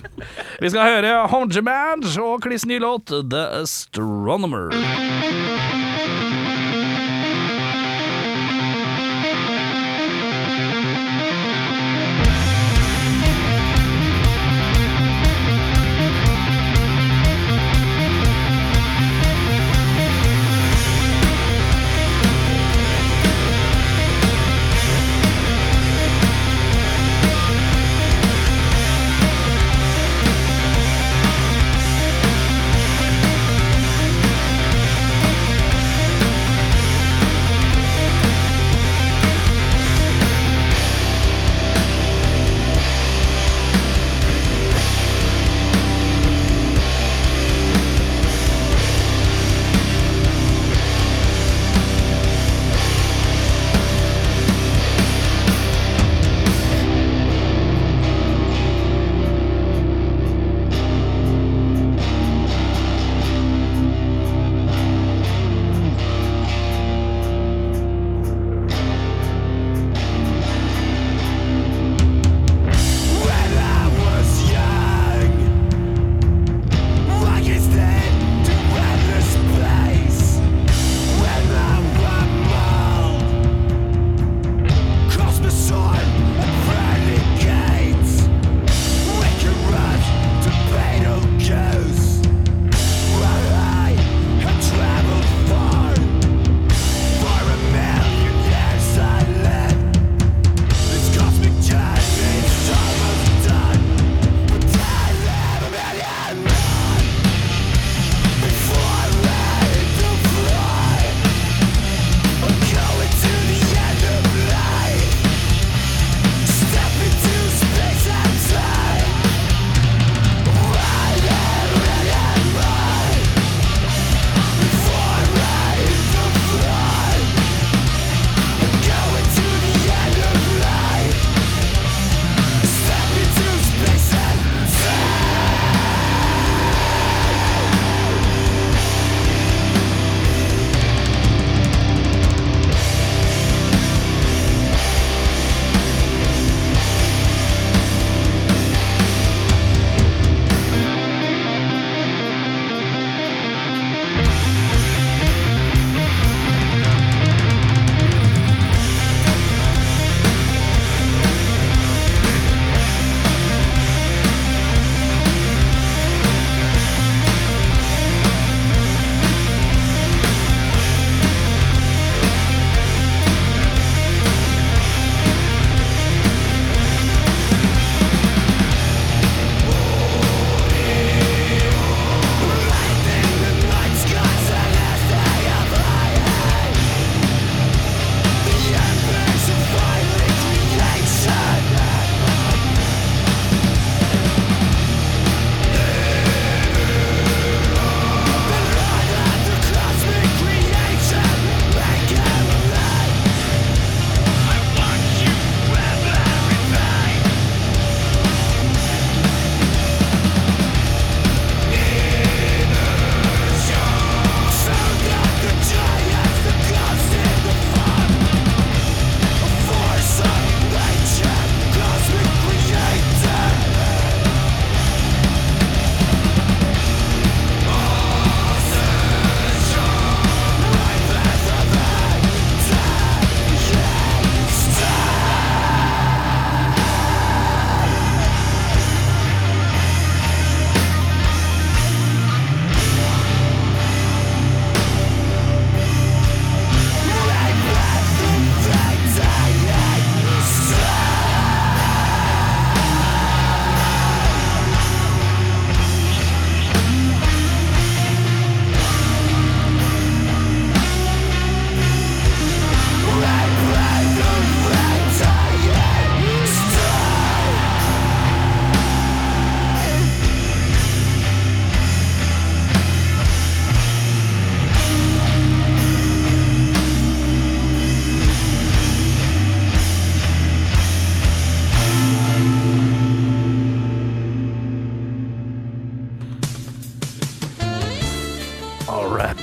Vi skal høre Hongemange og Kliss ny låt The Astronomer.
Thank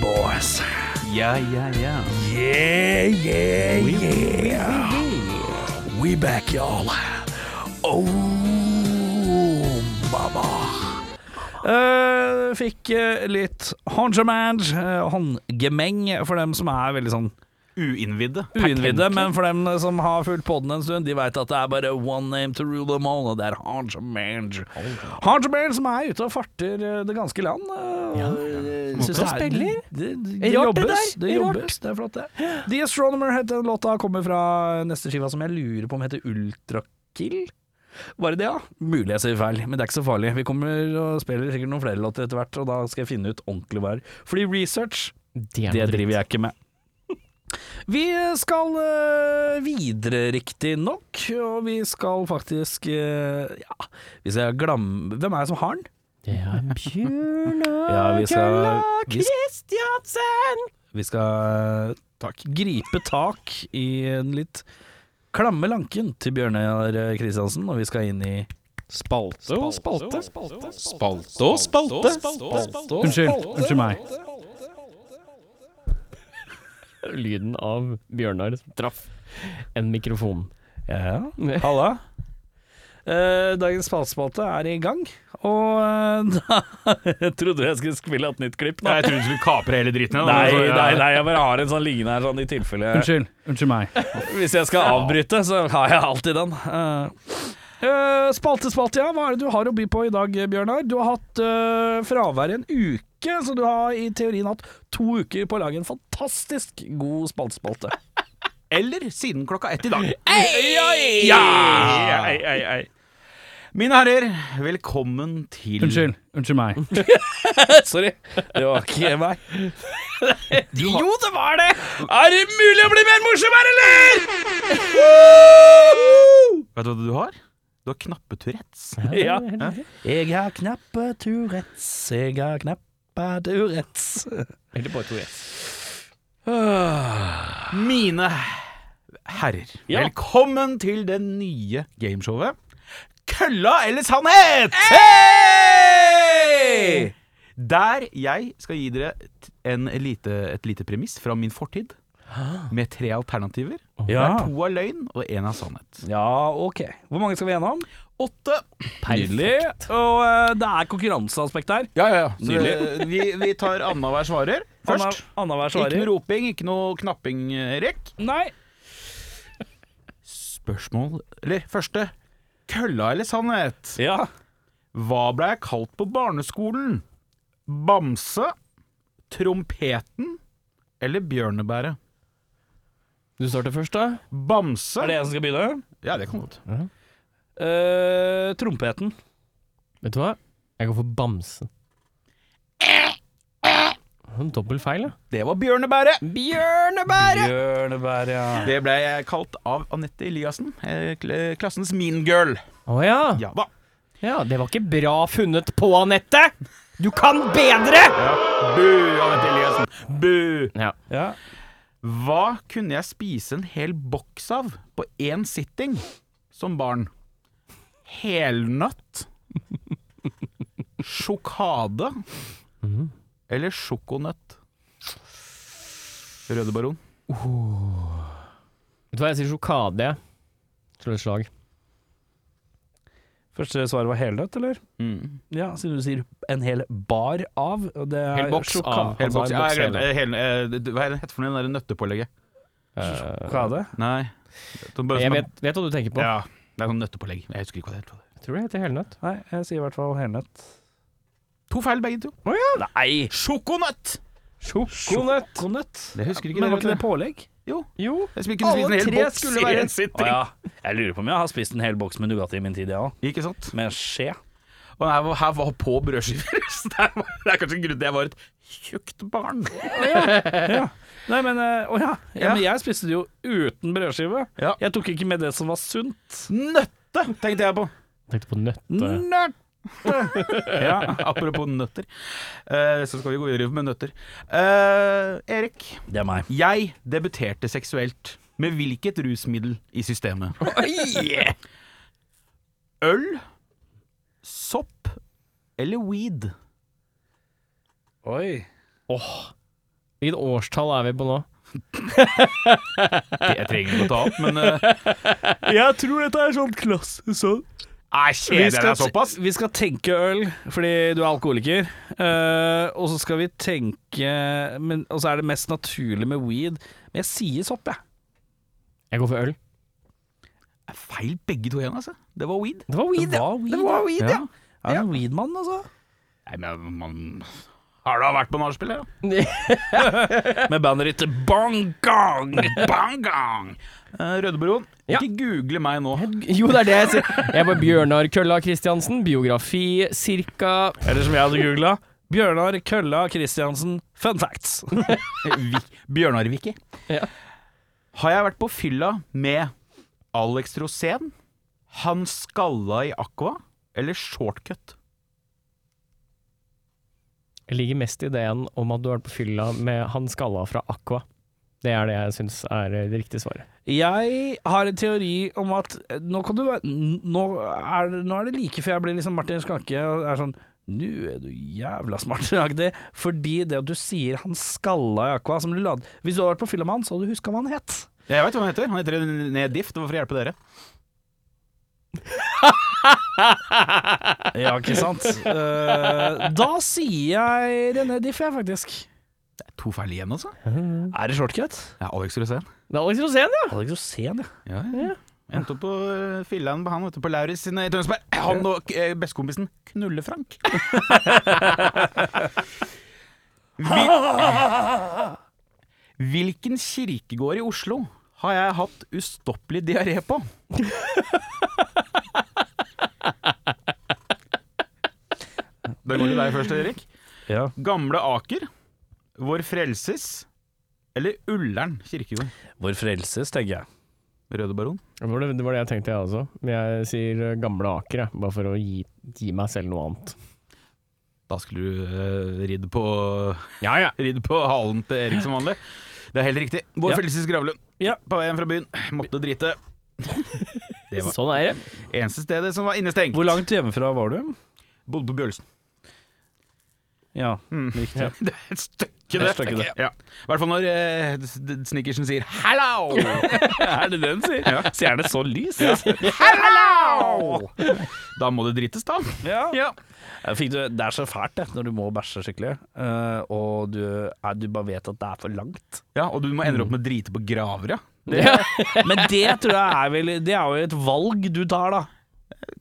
boys.
Ja, ja, ja.
Yeah, yeah, yeah. We back, y'all. Oh, mama. Eh, fikk eh, litt håndgemeng, eh, håndgemeng for dem som er veldig sånn
Uinnvidde.
uinnvidde, men for dem som har fulgt podden en stund, de veit at det er bare one name to rule them all, og det er Hanjamange. Hanjamange som er ute og farter eh, det ganske land. eh, Ja,
Synes han spiller.
Det, det,
Er
det
rart, det
jobbes,
der.
det
Er rart.
jobbes. Det er flott, det. The Astronomer het den låta, kommer fra neste skiva som jeg lurer på om heter Ultrakill. Var det det, ja? Mulig jeg sier feil, men det er ikke så farlig. Vi kommer og spiller sikkert noen flere låter etter hvert, og da skal jeg finne ut ordentlig hva det er. Fordi research
Det,
det driver jeg ikke med. *laughs* Vi skal eh, videre, riktignok, og vi skal faktisk eh, Ja, hvis jeg glemmer Hvem er det som har den?
Det er Bjørn
Ja, vi skal-
Agla
vi skal-
Kristiansen!
Vi skal eh, gripe tak i den litt klamme lanken til Bjørnar Kristiansen, og vi skal inn i
Spalte og spalte.
Spalte og spalte.
Unnskyld. Unnskyld meg.
Lyden av Bjørnar som traff en mikrofon.
Ja, halla. Eh, dagens spaltespalte er i gang, og eh, *laughs* da Trodde du jeg skulle spille et nytt klipp, da?
Nei, jeg trodde du skulle kapre hele dritten. ja.
Nei,
Så, ja.
nei, nei, jeg bare har en sånn liggende her, sånn i tilfelle
Unnskyld. Unnskyld meg.
Hvis jeg skal avbryte, så har jeg alltid den. Eh, eh, Spalte, spalte, ja. Hva er det du har å by på i dag, Bjørnar? Du har hatt eh, fravær i en uke, så du har i teorien hatt to uker på å lage en fantastisk god spaltespalte.
Eller siden klokka ett i dag.
Ja!
Ei, ei, ei. Mine herrer, velkommen til
Unnskyld. Unnskyld meg.
Sorry, det var ikke meg. Jo, det var det! Er det mulig å bli mer morsom her, eller?! Woohoo!
Vet du hva du har? Du har knappeturettes.
Ja. Jeg har knappe Tourettes, jeg har knappe Tourettes.
Eller bare to S.
Mine herrer, velkommen til det nye gameshowet Kølla eller sannhet! Der jeg skal gi dere t- en lite, et lite premiss fra min fortid. Med tre alternativer.
Ja.
Der to er løgn og én er sannhet.
Ja, ok. Hvor mange skal vi gjennom?
Åtte.
Nydelig. Og eh, det er konkurranseaspekt her.
Ja, ja, ja. Nydelig. Eh, Vi, vi tar annenhver svarer først.
Anna- *laughs* Annenhver
Ikke noe
svarer.
roping, ikke noe knapping, Erik.
Nei.
Spørsmål Eller første. Kølla eller sannhet?
Ja.
Hva ble jeg kalt på barneskolen? Bamse, trompeten eller bjørnebæret?
Du starter først, da.
Bamse
Er det jeg som skal begynne?
Ja, det kan godt.
Uh, trompeten.
Vet du hva? Jeg går for bamsen. En dobbel feil, da.
Det var bjørnebæret!
Bjørnebæret!
Bjørnebær, ja.
Det ble jeg kalt av Anette Eliassen, eh, kl- klassens mean girl.
Å ja.
Ja da.
ja. Det var ikke bra funnet på, Anette! Du kan bedre!
Bu, Anette Eliassen. Bu.
Ja.
ja.
Hva kunne jeg spise en hel boks av på én sitting som barn? Helnøtt, sjokade eller sjokonøtt? Røde baron.
Vet du hva, jeg sier sjokade. jeg. Slå et slag.
Første svaret var helnøtt, eller?
Mm.
Ja, siden du sier en hel bar av. og Det er
Hel boks
sjoka-
av.
Hel
Altså,
boks.
en
Ja,
boks
jeg
hele.
glemte- eh, hel- eh, det- Hva er det heter for noe, det der nøttepålegget?
Sjokade.
Nei. Det er bare
Eh, Jeg
som en-
vet, vet hva du tenker på.
Ja, det er sånn nøttepålegg. Jeg husker ikke hva det heter.
Jeg tror det heter helnøtt.
Nei, jeg sier i hvert fall helnøtt.
To feil begge to.
Nei!
Sjokonøtt!
Sjokonøtt.
Det husker ikke
Men
dere,
var ikke det
vet
pålegg?
du. Jo.
Jo.
Jeg skulle kunne spise en hel boks i en
Å
sitting.
ja. Jeg lurer på om jeg har spist en hel boks med Nugatti i min tid, jeg òg.
Ikke sant?
Med skje.
Og her var, her var på brødskiver. *laughs* Så det, var, det er kanskje grunnen til at jeg var et tjukt barn.
Nei, men eh, Å ja. ja.
Ja.
Men jeg spiste det jo uten brødskive.
Ja.
Jeg tok ikke med det som var sunt.
Nøtte, tenkte jeg på.
Tenkte på nøtte.
Nerd!
Ja, *laughs* Apropos nøtter, Eh, så skal vi gå videre med nøtter. Eh, Erik,
Det er meg.
jeg debuterte seksuelt. Med hvilket rusmiddel
*laughs*
i systemet? Øl, sopp eller weed?
Oi.
Hvilket årstall er vi på nå?
Jeg trenger ikke å ta opp, men
*laughs*
eh,
Jeg tror dette er sånn klasse sånn.
Nei,
Vi
kjeder
skal,
deg såpass.
vi skal tenke øl, fordi du er alkoholiker. Eh, og så skal vi tenke men, Og så er det mest naturlig med weed. Men jeg sier sopp, jeg.
Jeg går for øl.
Feil begge to igjen, altså. Det var weed.
Det var weed,
Det
ja.
var weed,
Det var weed, ja.
Er du en weed-mann, altså?
Nei, men man Har du vært på nachspiel, ja? *laughs*
Med bandet ditt Bong Gong.
Bang gang! Eh, Rødebroen,
Ja.
ikke google meg nå. Eh,
Jo, det er det jeg sier. Jeg var Bjørnar Kølla Kristiansen. Biografi cirka
Eller som jeg hadde googla, Bjørnar Kølla Kristiansen, fun facts.
Bjørnarviki.
Ja.
Har jeg vært på fylla med Alex Rosén, han skalla i Aqua eller shortcut?
Jeg ligger mest i ideen om at du har vært på fylla med han skalla fra Aqua. Det er det jeg syns er eh, det riktige svaret.
Jeg har en teori om at eh, nå, kan du, være- n- nå, er, det- nå er det like før jeg blir liksom Martin Skanke og er sånn Nå er du jævla smart. *laughs* aktig. Fordi det at du sier han skalla i Aqua som du lad, Hvis du hadde vært på fylla med han, så hadde du huska hva han het.
Jeg veit hva han heter. Han heter Nedif. Det var for å hjelpe dere.
Ja, ikke sant? *laughs* Eh, da sier jeg René Diff, jeg, faktisk.
Det er to feil igjen, altså.
Er det shortcut?
Ja, Alex Rosén.
Det er Alex Rosén, ja!
Alex Rosén, ja.
Ja, ja. Endte opp på eh, fyllaen på han ute på Lauritz sine i Tønsberg. Han og eh, bestekompisen *laughs* Knulle-Frank. Hvil- eh, Hvilken kirkegård i Oslo har jeg hatt ustoppelig diaré på? Da går det deg først, Erik.
ja.
Gamle Aker, Vår Frelses eller Ullern kirkegård?
Vår Frelses, tenker jeg.
Røde Baron.
Det var det, det var det jeg tenkte, jeg også. Men jeg sier eh, Gamle Aker, jeg, bare for å gi, gi meg selv noe annet.
Da skulle du eh, ridd på *laughs*
Ja, ja.
Ridd på halen til Erik som vanlig. Det er helt riktig. Vår
Ja.
Frelses Gravlund.
Ja.
På vei hjem fra byen. Måtte drite. Det var
Sånn er det.
eneste stedet som var innestengt.
Hvor langt hjemmefra var du?
Bodde på
*laughs*
Bjølsen.
Ja,
Mm.
riktig.
Det er et stykke,
er
det.
et stykke, det.
Ja. I hvert fall når eh, d- d- snickersen sier
*laughs*
'hallo'.
Er det det den sier?
Ja.
Så er det så lys. *laughs*
Hallo! Da må det drites, da.
Ja.
Ja.
Jeg Fikk du, det er så fælt det, når du må bæsje skikkelig, eh, og du, er, du bare vet at det er for langt.
ja, og du må ende opp
Mm.
med å drite på graver, ja.
*laughs* Men det tror jeg er vel Det er jo et valg du tar, da.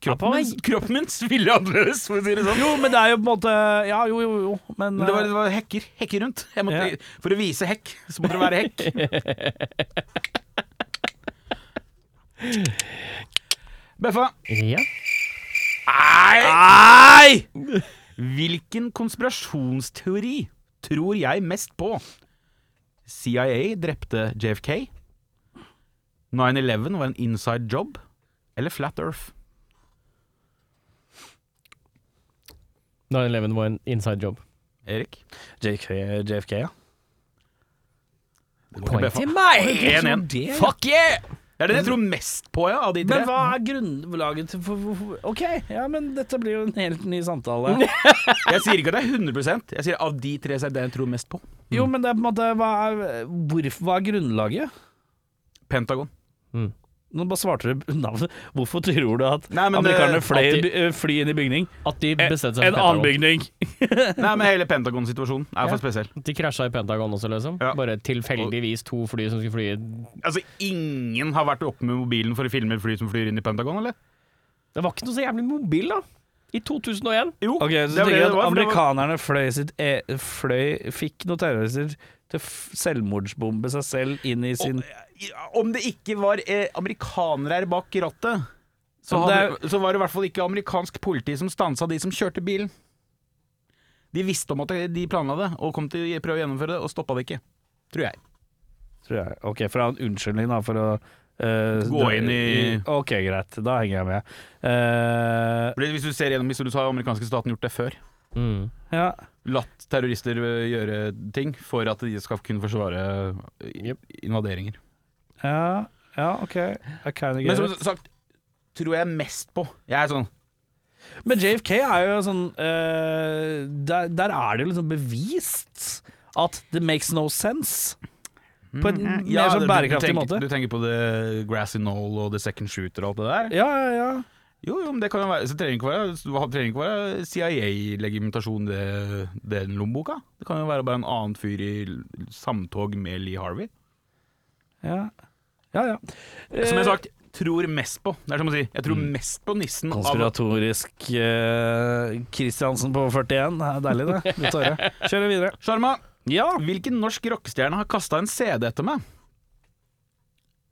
Kroppen, min, kroppen min sviller annerledes, for å si det sånn.
Jo, men det er jo på en måte Ja, jo, jo, jo, men
Men det var,
eh,
det var hekker. Hekker rundt. Jeg måtte, For å vise hekk, så måtte det være
*laughs*
hekk. Beffa,
Ja.
*laughs* Nei!
hvilken konspirasjonsteori tror jeg mest på? CIA drepte JFK? 9-11 var en inside job? Eller Flat Earth?
9-11 var en inside job.
Erik?
JK, JFK, ja.
Det går til Beffa.
meg!
1-1.
Sånn, Det, ja.
Fuck yeah!
Det er den jeg tror mest på, ja, av de tre.
Men hva er grunnlaget til for, for, for, OK, ja, men dette blir jo en helt ny samtale.
Jeg sier ikke at det er 100 Jeg sier av de tre så er det den jeg tror mest på.
Jo, men det er på en måte Hva er, hvorfor, hva er grunnlaget?
Pentagon.
Nå bare svarte du navnet. Hvorfor tror du at
Nei, men det-
amerikanerne fløy
at de-
by- eh, fly inn i bygning?
At de
Eh,
bestemte seg
En annen bygning.
Nei, men hele Pentagon-situasjonen er for spesiell.
De krasja i Pentagon også, liksom.
Ja.
Bare tilfeldigvis to fly som skulle fly Det
Altså, ingen har vært oppe med mobilen for å filme et fly som flyr inn i Pentagon, eller?
var ikke noe så jævlig mobil, da. I 2001.
Jo,
Ok, så
det
tenker
var det
jeg
det
at
var, for det var-
Amerikanerne fløy, sitt e fløy fikk noen terrorister til å f- selvmordsbombe seg selv inn i sin
Om det ikke var eh, amerikanere her bak rattet, så,
Men
hadde, så var det i hvert fall ikke amerikansk politi som stansa de som kjørte bilen. De visste om at de planla det, og kom til å prøve å gjennomføre det, og stoppa det ikke. Tror jeg.
Tror jeg. Ok, for jeg har en unnskyldning da for å eh,
Gå
dra-
inn i-
Ok, greit. Da henger jeg med. Eh,
Fordi Hvis du ser gjennom historien, så har amerikanske staten gjort det før.
ja.
Latt terrorister eh, gjøre ting for at de skal kunne forsvare eh,
Jep.
invaderinger.
ja. Ja, OK. I kinda
Men
get
som
it.
sagt, tror jeg mest på. Jeg er sånn
Men JFK er jo sånn eh, der, der er det jo liksom bevist at det makes no sense. På en
Mm.
mer
Ja, du-
sånn
du
bærekraftig
tenker-
måte.
Du tenker på The Grassy Knoll og The Second Shooter og alt det der?
Ja, ja, ja.
Jo, jo, men det kan jo være Så trenger ikke være, det trenger ikke være CIA-legimentasjon, det, den lommeboka. Det kan jo være bare en annen fyr i l- samtog med Lee Harvey.
Ja, ja. ja.
Som jeg
Eh,
har sagt, tror mest på. Det er som å si, jeg tror mest på nissen av
Konspiratorisk eh, Kristiansen på 41. Det er Deilig, det. Litt åre. Kjører videre.
Sjarma,
Ja.
hvilken norsk rockestjerne har kasta en CD etter meg?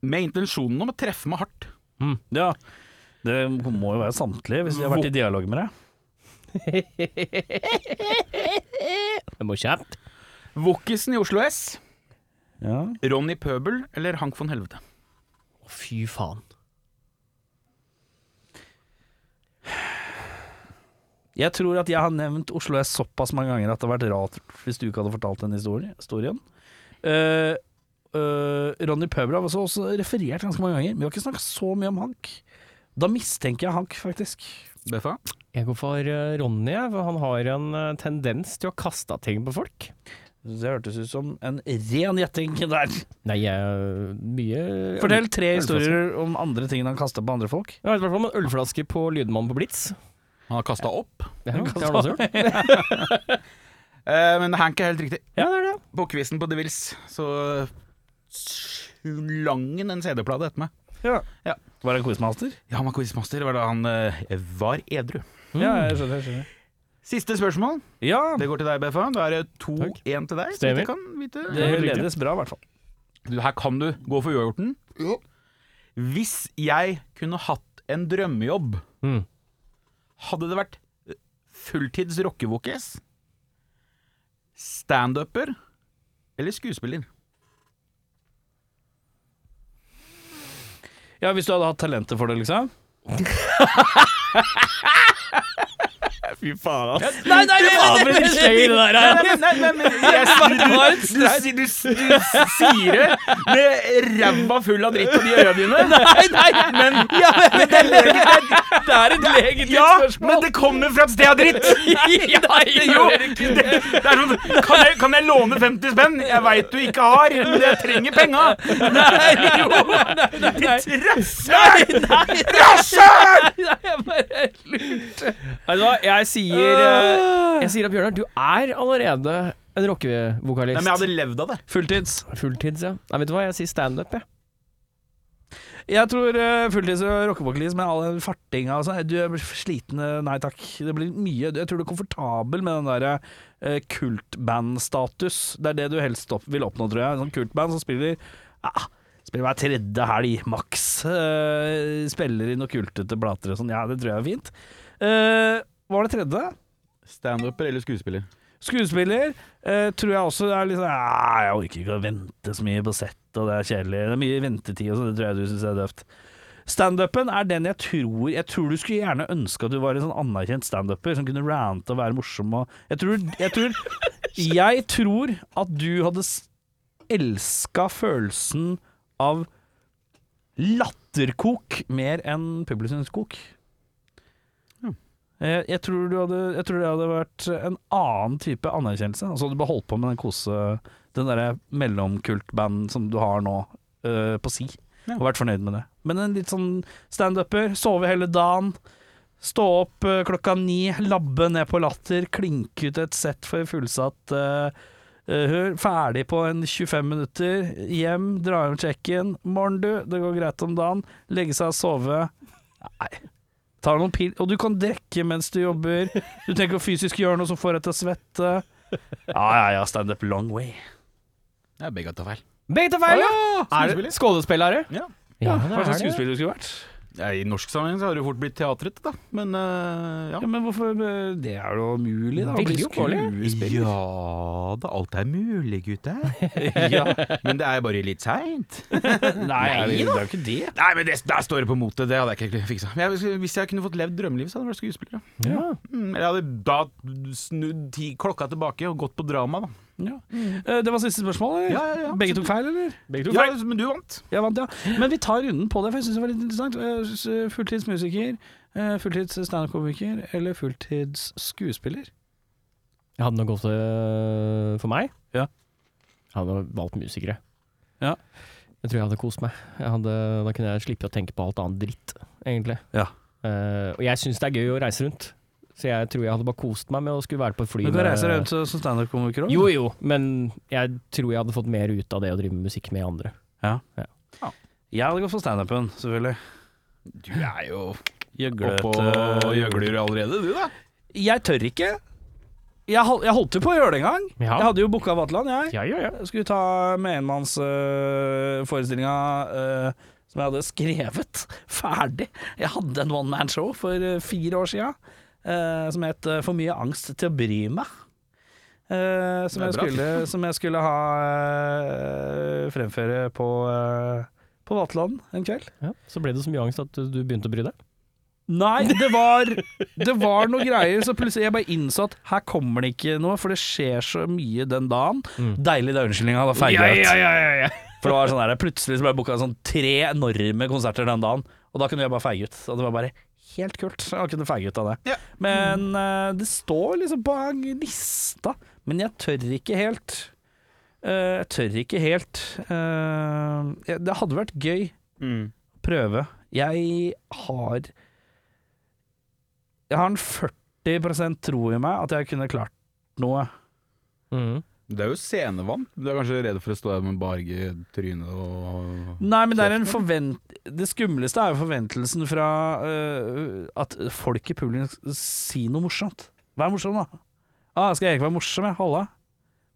Med intensjonen om å treffe meg hardt.
Mm, ja. Det må jo være samtlige, hvis de har vært i dialog med deg.
Det må kjapt.
Wokkisen i Oslo S,
Ja.
Ronny Pøbel eller Hank von Helvete?
Å, fy faen.
Jeg tror at jeg har nevnt Oslo S såpass mange ganger at det hadde vært rart hvis du ikke hadde fortalt den historien. historien. Eh, eh, Ronny Pøbel har også, også referert ganske mange ganger. Vi har ikke snakket så mye om Hank. Da mistenker jeg Hank, faktisk.
Beffa?
Jeg går for eh, Ronny, jeg, for han har en eh, tendens til å kaste ting på folk.
Det hørtes ut som en ren gjetting der.
Nei, jeg mye
Fortell tre historier om andre ting han kasta på andre folk.
Jeg vet i hvert fall om en ølflaske på Lydmannen på Blitz.
Han har kasta opp.
Det har han også gjort.
Eh, men Hank er helt riktig.
Ja, det er det.
på quizen på The Wills, så slang han en CD-plate etter meg.
Var det quizmaster?
Ja, han var quizmaster. Var da han eh, var edru.
Ja, jeg skjønner. Jeg skjønner.
Siste spørsmål.
Ja,
Det går til deg, BFA. Da er det 2-1 til deg. så vidt
Stemmer.
jeg kan vite.
det ledes bra, i hvert fall.
Du, Her kan du gå for uavgjorten. Hvis jeg kunne hatt en drømmejobb,
Mm.
hadde det vært eh, fulltids rockevokis, standuper eller skuespiller?
Ja, Hvis du hadde hatt talentet for det, liksom? Fy faen, ass. Nei, nei, det var vel ikke gøy, det der. ja.
Nei, nei, nei, men jeg svarer du, du, du, du sier det med ræva full av dritt på de øya dine. Nei, nei, men, men det, er legitimt-
Det er et legitimt
ja,
spørsmål.
men det kommer fra et sted av dritt. *laughs*
Nei,
Jo, det, det er sånn, kan, jeg, kan jeg låne 50 spenn? Jeg veit du ikke har, men jeg trenger penga. Nei, jo, ditt rasshøl! Rasshøl!
Vet du hva, jeg sier eh, Jeg sier at Bjørnar, du er allerede en
Nei, men jeg
rockevokalist.
hadde levd av det.
Fulltids.
Fulltids, ja. Nei, vet du hva, jeg sier standup, jeg.
Jeg tror eh, fulltids og rockevokalist med all den fartinga og sånn Du jeg blir sliten. eh, Nei takk. Det blir mye. Jeg tror du er komfortabel med den derre eh, kultbandstatus. Det er det du helst opp, vil oppnå, tror jeg. En sånn kultband som spiller ah, Spiller hver tredje helg, maks. Eh, spiller i noe kultete blater og sånn. Ja, det tror jeg er fint. Eh, hva var det tredje?
Standuper eller skuespiller?
Skuespiller eh, tror jeg også er litt sånn «Ah, Jeg orker ikke å vente så mye på sett, og det er kjedelig. Det er mye ventetid og sånn, det tror jeg du syns er døvt. Standupen er den jeg tror Jeg tror du skulle gjerne ønske at du var en sånn anerkjent standuper som kunne rante og være morsom og Jeg tror Jeg tror, jeg tror at du hadde elska følelsen av latterkok mer enn publikumskok. Eh, Jeg tror, du hadde, jeg tror det hadde vært en annen type anerkjennelse. Altså hadde du bare holdt på med den kose Den derre sånn mellomkultband som du har nå, eh, på si.
Ja.
Og vært fornøyd med det. Men en litt sånn standuper. Sove hele dagen. Stå opp eh, klokka ni, labbe ned på latter, klinke ut et sett for fullsatt eh, eh, hør. Ferdig på en 25 minutter. Hjem, dra hjem check-in. Morgen, du. Det går greit om dagen. Legge seg og sove. Tar noen pil Og du kan drikke mens du jobber. Du tenker å fysisk gjøre noe som får deg til å svette. Ja, ja, ja. Stand up long way.
Det er begge tar feil.
Begge tar feil, ja! Er
Skuespiller.
det skuespillere?
Ja.
Ja, det
Hva
er
slags
det.
skuespiller du skulle vært?
Ja, I norsk sammenheng så har det jo fort blitt teatret, da. Men eh, ja.
Ja, men hvorfor eh, Det er jo mulig, da. å bli
Veldig oppgåelig.
skuespiller.
Ja da, alt er mulig, *laughs* gutter. Men det er jo bare litt *laughs* seint.
Nei, det er jo ikke det.
Nei, men det, der står det på motet. Det hadde jeg ikke fiksa. Men jeg, hvis jeg kunne fått levd drømmelivet, så hadde jeg vært skuespiller. Ja.
Ja.
Mm, eller jeg hadde da snudd ti, klokka tilbake og gått på drama, da.
Ja. Eh, Det var siste spørsmål, eller?
Ja, ja, ja.
Begge tok feil, eller?
Begge
Ja, men du vant.
Jeg vant, ja. Men vi tar runden på det, for jeg syns det var litt interessant. Eh, s- Fulltids musiker, eh, fulltids standup-komiker eller fulltids skuespiller?
Jeg hadde nok gått øh, for meg.
Ja.
Jeg hadde valgt musikere.
Ja.
Jeg tror jeg hadde kost meg. Jeg hadde, da kunne jeg slippe å tenke på alt annet dritt, egentlig.
Ja.
Eh, og jeg syns det er gøy å reise rundt, så jeg tror jeg hadde bare kost meg med å skulle være på et fly
Du kan
med-
reise rundt som standup-komiker òg.
Jo jo, men jeg tror jeg hadde fått mer ut av det å drive med musikk med andre.
Jeg hadde gått for standupen, selvfølgelig.
Du er jo
Gjøglete
oppå og gjøgler allerede, du da.
Jeg tør ikke. Jeg, hol- jeg holdt jo på å gjøre det en gang.
Ja.
Jeg hadde jo booka Vatland, jeg.
Ja, ja, ja.
Jeg skulle ta medmannsforestillinga eh, som jeg hadde skrevet ferdig. Jeg hadde en one man show for eh, fire år sia som het eh, For mye angst til å bry meg. Eh, som, jeg
Det er bra.
skulle,
*laughs*
som jeg skulle ha eh, fremføre på, eh, på Vatland en kveld.
Ja. Så ble det så mye angst at du du begynte å bry deg.
Nei, det var, det var noen greier, så plutselig jeg bare innså at her kommer det ikke noe, for det skjer så mye den dagen.
Mm.
Deilig da unnskyldninga hadde feilet. For det var sånn der, plutselig så ble jeg booka sånn tre enorme konserter den dagen, og da kunne jeg bare feige ut. Og det var bare helt kult. Jeg kunne feige ut av det.
Ja.
Men eh, det står liksom på lista, men jeg tør ikke helt. Eh, jeg tør ikke helt. Eh, jeg- det hadde vært gøy prøve. Jeg har Jeg har en 40 tro i meg at jeg kunne klart noe.
Mm.
Det er jo scenevant. Du er kanskje redd for å stå der med barge i trynet og
Nei, men det er en forvent... Det skumleste er jo forventelsen fra øh, at folk i publikum s- sier noe morsomt. Vær morsom, da. Ah, skal jeg ikke være morsom, jeg? Halla.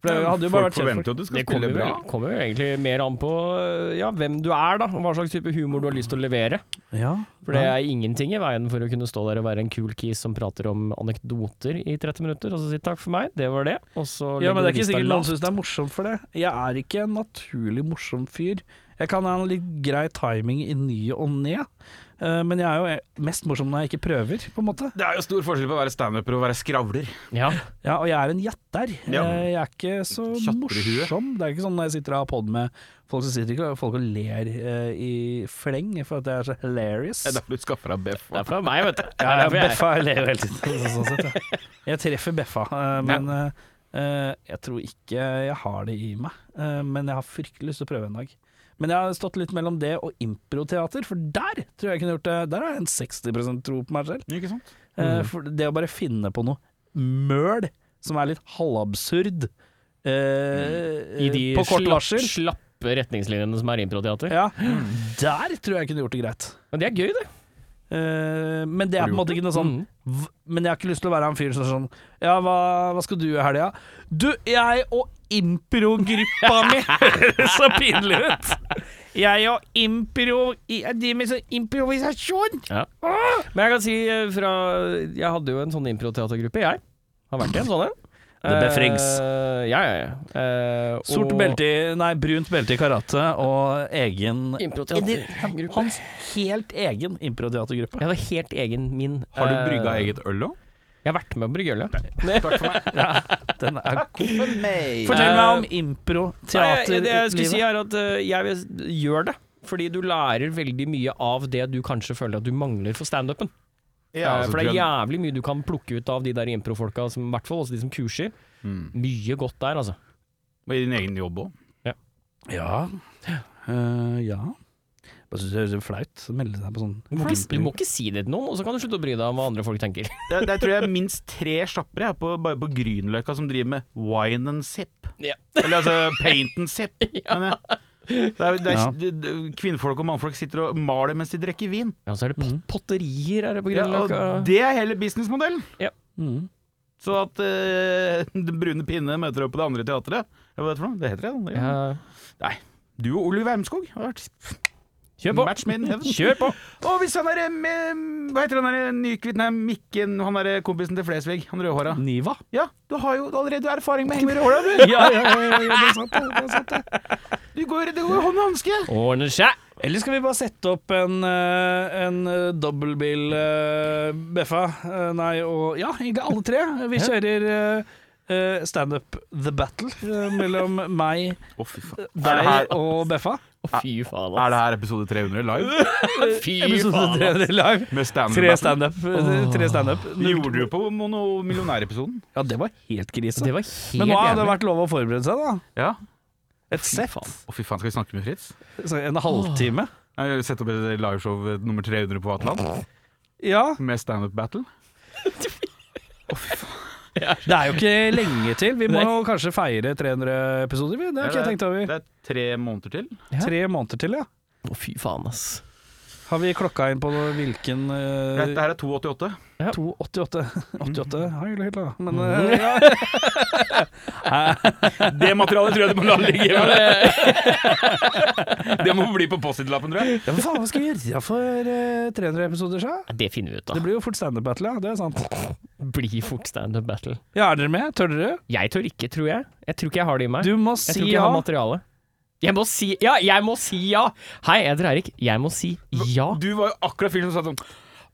For det hadde jo bare
Folk
vært kjent
forventer jo at du skal
Det kommer
spille
jo,
bra.
kommer jo egentlig mer an på øh, ja, hvem du er, da. og Hva slags type humor du har lyst til å levere.
for ja.
For det er ingenting i veien for å kunne stå der og være en kul kis som prater om anekdoter i 30 minutter, og så si takk for meg, det var det. Og så
ja, men det er ikke
legger du lista
sikkert noen
lavt.
syns det er morsomt for det. Jeg er ikke en naturlig morsom fyr. Jeg kan ha en litt grei timing i ny og ned, eh, men jeg er jo mest morsom når jeg ikke prøver, på en måte.
Det er jo stor forskjell på å være standuper og å være skravler.
Ja.
Ja, og jeg er en jatter.
Ja.
Eh, Jeg er ikke så
Tjatter i huet.
morsom. Det er ikke sånn når jeg sitter og har pod med folk, så sitter ikke folk og ler eh, i fleng for at det er så hilarious.
Det er derfor du skaffer deg Beff.
Det er fra meg, vet du.
*laughs* Ja,
Det er
ja,
derfor jeg-
Beffa jeg ler jo hele tiden. så- *laughs* Sånn sett, ja. Jeg treffer Beffa, eh, men eh, eh, jeg tror ikke jeg har det i meg. Eh, Men jeg har fryktelig lyst til å prøve en dag. Men jeg har stått litt mellom det og improteater, for der tror jeg jeg kunne gjort det. Der har jeg en 60 tro på meg selv.
Ikke sant?
Eh, For det å bare finne på noe møl som er litt halvabsurd eh,
I de
på kort
slapp-
varsel
slappe retningslinjene som er improteater.
ja, Der tror jeg jeg kunne gjort det greit.
Men det er gøy, det.
Eh, men det er på en måte ikke noe sånn
Mm.
v- Men jeg har ikke lyst til å være han fyren som er sånn Ja, hva, hva skal du i helga? Du, jeg og improgruppa mi *laughs* Høres så pinlig ut! Jeg og impro... Jeg driver med sånn improvisasjon!
Men jeg kan si eh, fra Jeg hadde jo en sånn improteatergruppe, jeg. Har vært i en sånn en.
The Befrings.
Eh, ja, ja, ja. Eh,
Sort
og-
belte i Nei, brunt belte i karate og egen
Improteatergruppe.
Hans helt egen improteatergruppe.
Jeg hadde helt egen min.
Har du
eh,
brygga eget øl òg?
Jeg har vært med å brygge øl, ja.
Takk for meg.
Den er
Takk for meg.
Fortell
Eh,
meg om
Nei, det jeg skulle si
improteaterlivet.
er at eh, jeg vil- gjør det. Fordi du lærer veldig mye av det du kanskje føler at du mangler for standupen.
Ja,
Eh,
altså,
for det er
tror jeg-
jævlig mye du kan plukke ut av de der improfolka, som- i hvert fall også de som kurser.
Mm.
Mye godt der, altså.
Og I din egen jobb òg.
Ja. Uh, ja. Bare syns det høres litt flaut å melde seg på sånn
Du må, ikke, du må ikke si det til noen, og så kan du slutte å bry deg om hva andre folk tenker.
Det, det tror jeg er minst tre sjapper jeg, på, bare på Grünerløkka som driver med wine and sip.
Ja.
Eller altså paint
*laughs*
and sip. mener jeg. Det er, det er,
Ja.
det- det- Kvinnfolk og mannfolk sitter og maler mens de drikker vin.
*laughs* Ja, så er det pot potterier er Mm. det på
Ja, og
Grünerløkka.
det er hele businessmodellen.
Mm.
Så at eh, *laughs* Den brune pinne møter opp på det andre teatret. Jeg vet for noe, det heter det.
Ja.
Du og Oliv Wermskog har vært
Kjør
Mm.
på!
match made in heaven.
Kjør på!
Og hvis han derre Hva heter han derre nykvitt Nei, Mikken, han derre kompisen til Flesvig, han rødhåra.
Niva.
Ja, du har jo allerede erfaring med å henge med rødhåra, du.
*laughs* Ja, ja, ja, ja, det er sant, det. det er sant det.
Du går, det går jo hånd i hanske.
Ordner seg!
Eller skal vi bare sette opp en, eh, en eh, dobbeltbil, eh, Beffa? Eh, Nei, og Ja, egentlig alle tre. Vi kjører eh, eh, standup The Battle eh, mellom *laughs* meg,
Å, fy faen. Er det, her,
deg og Beffa.
Fy faen,
er det her episode 300 live?
Fy
Episode 300 live.
Med
Tre
standup?
standup. eh, Tre standup.
Gjorde du på Mono- millionærepisoden?
Ja, det var helt krise.
Det var helt
Men nå har det
jævlig.
vært lov å forberede seg, da.
Ja.
Et sett.
Å, fy faen, skal vi snakke med Fritz?
Så En halvtime.
Jeg har Sett opp et liveshow nummer 300 på Atlant
Ja.
med standup battle?
Det er jo ikke lenge til. *laughs* Vi må jo kanskje feire 300 episoder, vi. Det har ikke jeg tenkt over.
Det er tre måneder til.
Tre måneder til, ja.
Å, Fy faen, ass.
Har vi klokka inn på noe- hvilken eh,
Dette her er 288.
288 *laughs* 88 har jeg helt da. Men eh,
*laughs* Det materialet tror jeg du må la ligge. *laughs* Det må bli på Post-It-lappen, tror jeg.
ja, hva faen hva skal vi gjøre for eh, 300 episoder siden?
Nei, Det finner vi ut
Det
*laughs* av.
blir jo fort standup-battle, ja. Det er sant.
Bli fort standup battle.
Ja, er dere med? Tør dere?
Jeg tør ikke, tror jeg. Jeg tror ikke jeg har det i meg.
Du må
jeg
si
tror ikke jeg
ja.
har materiale. Jeg må si ja! Jeg må si ja! Hei, jeg heter Eirik. Jeg må si ja.
Du var jo akkurat fyren som sa sånn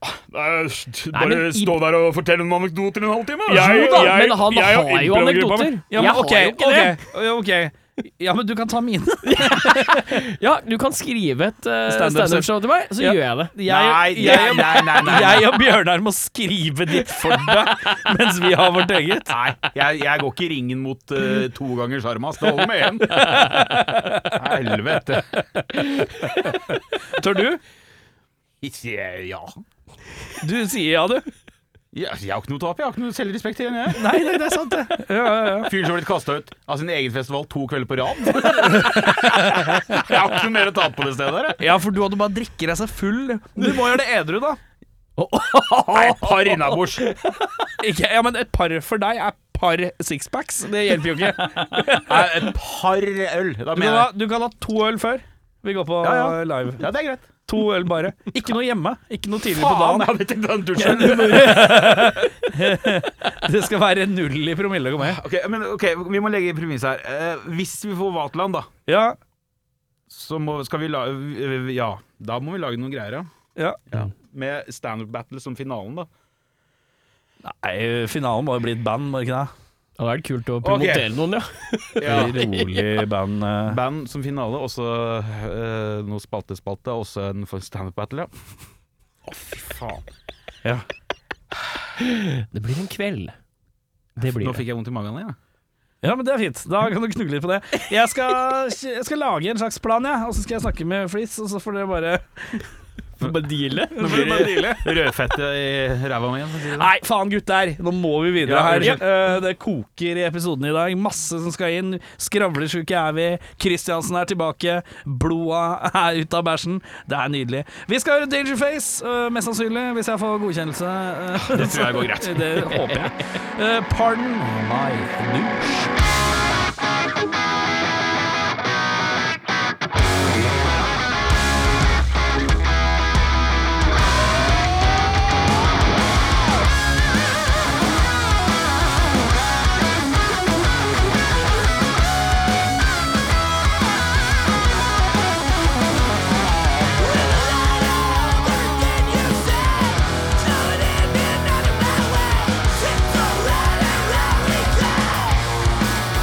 «Ah, det er-
Nei, men i-
der og fortell noen anekdoter i en halvtime.
Jo da,
jeg-
men han
jeg og
har jo
improgruppa mi.
anekdoter.
Ja, men,
jeg
ok,
har jo ikke det.
ok, ja, ok. Ja, men du kan ta mine.
Ja, du kan skrive et uh,
Stand-up
standup show til meg, så
Ja.
gjør jeg det.
Nei,
jeg,
nei, nei, nei, nei.
jeg og Bjørnar må skrive ditt for deg, mens vi har vårt eget.
Nei, jeg, jeg går ikke i ringen mot eh, to ganger sjarma. Det holder med én. *laughs* Helvete.
Tør du?
Ikke- Ja.
Du sier ja, du.
Ja, Jeg har ikke noe tap, jeg har ikke noe selvrespekt igjen. jeg.
Nei, nei, det er sant,
*laughs*
det. Ja, ja, ja.
Fyren som har blitt kasta ut av sin egen festival to kvelder på
*laughs*
rad. Jeg har ikke noe mer å tape på det stedet. her, jeg.
Ja, for du hadde bare drikker deg seg full. Du må gjøre det edru, da.
Nei, et par innabords.
Ikke, ja, men et par for deg er par sixpacks. Det hjelper jo *laughs* ikke.
Nei, Et par øl. Da
Du kan, ha,
mener jeg
du kan ha to øl før. Vi går på
Ja, ja.
eh, live.
Ja, det er greit.
To øl bare. Ikke noe hjemme. Ikke noe tidlig på
Faen, jeg
dagen.
hadde tenkt den dusjen.
Det skal være null i promille. Kom med.
Ok, men ok, Vi må legge premiss her. Eh, hvis vi får Vatland, da,
Ja,
så må, skal vi la... Ja, da må vi lage noen greier, ja.
ja.
Med standup battle som finalen, da.
Nei, finalen må jo bli et band, må det ikke *laughs* det?
Det hadde vært kult å promotere noen, ja.
Rolig band. eh.
Band som finale, og så eh, noe spaltespalte, og så en for standup battle, ja. Å, fy faen.
Det blir en kveld. Det blir
Nå
det.
fikk jeg vondt i magen igjen.
Ja, men det er fint. Da kan du knugle litt på det. Jeg skal, jeg skal lage en slags plan, jeg. Og så skal jeg snakke med Flis, og så får dere bare
Bare deale.
Nå blir det rødfette i ræva mi igjen. for å si det sånn.
Nei, faen gutter, nå må vi videre
Ja,
her.
unnskyld.
Eh, det koker i episoden i dag. Masse som skal inn. Skravlesjuke er vi. Kristiansen er tilbake. Bloda er ute av bæsjen. Det er nydelig. Vi skal høre Dangerface, eh, mest sannsynlig, hvis jeg får godkjennelse. Eh,
Det tror jeg går
*laughs*
greit.
det håper jeg. Eh, pardon my douche.
Tiptoe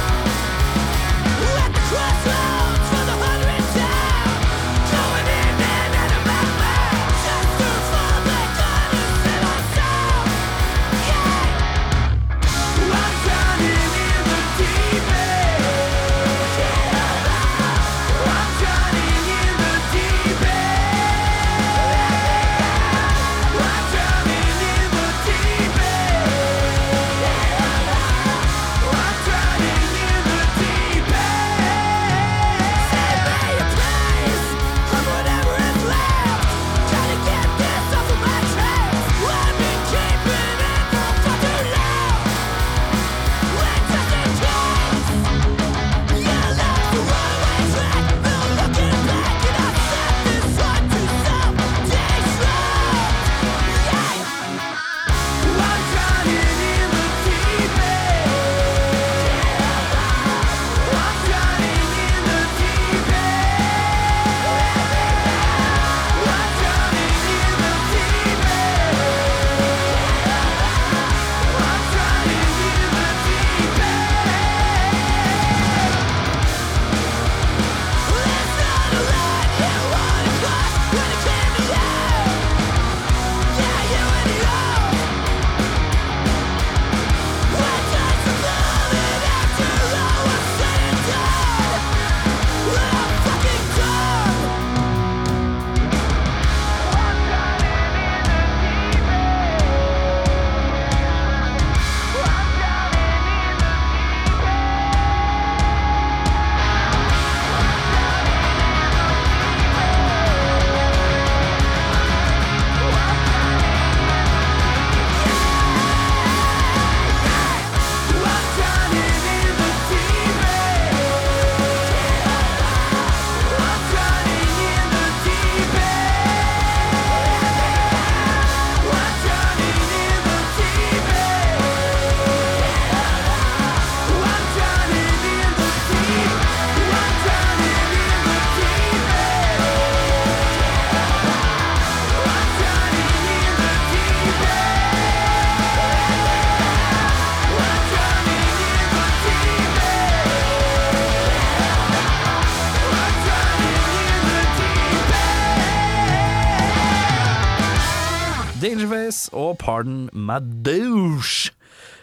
right around me, girl.
Dangerface og Pardon My Douche.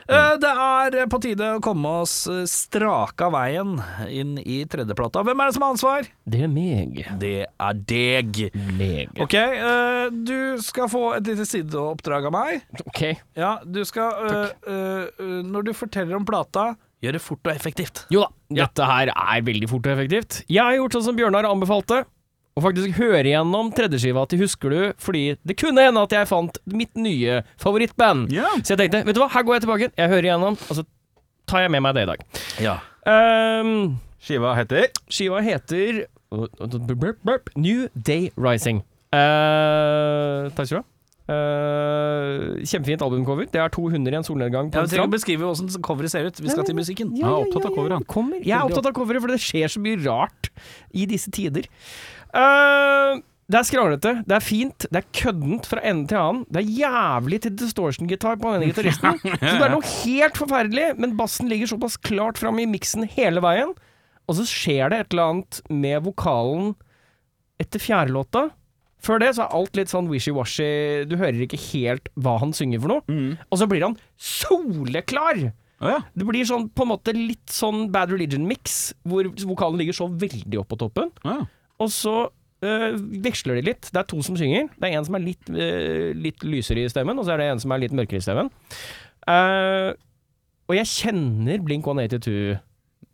Eh, Det er på tide å komme oss eh, straka veien inn i tredjeplata. Hvem er det som har ansvar?
Det er meg.
Det er deg.
Meg.
Ok, eh, du skal få et lite sideoppdrag av meg.
Ok.
Ja, du skal eh, eh, eh, Når du forteller om plata, gjør det fort og effektivt.
Jo da, dette her er veldig fort og effektivt. Jeg har gjort sånn som Bjørnar anbefalte, og faktisk høre gjennom tredjeskiva til Husker du, fordi det kunne hende at jeg fant mitt nye favorittband.
Ja.
Så jeg tenkte, vet du hva, her går jeg tilbake, jeg hører igjennom, og så tar jeg med meg det i dag.
Ja.
Ehm,
Skiva heter
skiva heter New Day Rising. Eh, takk skal du ha. Eh, kjempefint albumcover. Det er 200 i en solnedgang. på
Jeg
en
trenger
strand.
å beskrive åssen coveret ser ut. Vi skal til musikken.
Ja, ja, ja, ja, ja. Kommer. Jeg er
Veldig
opptatt av coveret, for det skjer så mye rart i disse tider. Eh, det er skranglete, det er fint, det er køddent fra ende til annen. Det er jævlig til distortion-gitar på denne gitaristen. Så det er noe helt forferdelig, men bassen ligger såpass klart fram i miksen hele veien. Og så skjer det et eller annet med vokalen etter fjerdelåta. Før det så er alt litt sånn wishy-washy, du hører ikke helt hva han synger for noe. Og så blir han soleklar!
Å ja.
Det blir sånn, på en måte litt sånn Bad Religion-mix, hvor vokalen ligger så veldig opp på toppen.
Å ja.
Og så øh, veksler de litt. Det er to som synger. Det er en som er litt, øh, litt lysere i stemmen, og så er det en som er litt mørkere i stemmen. Eh, og jeg kjenner Blink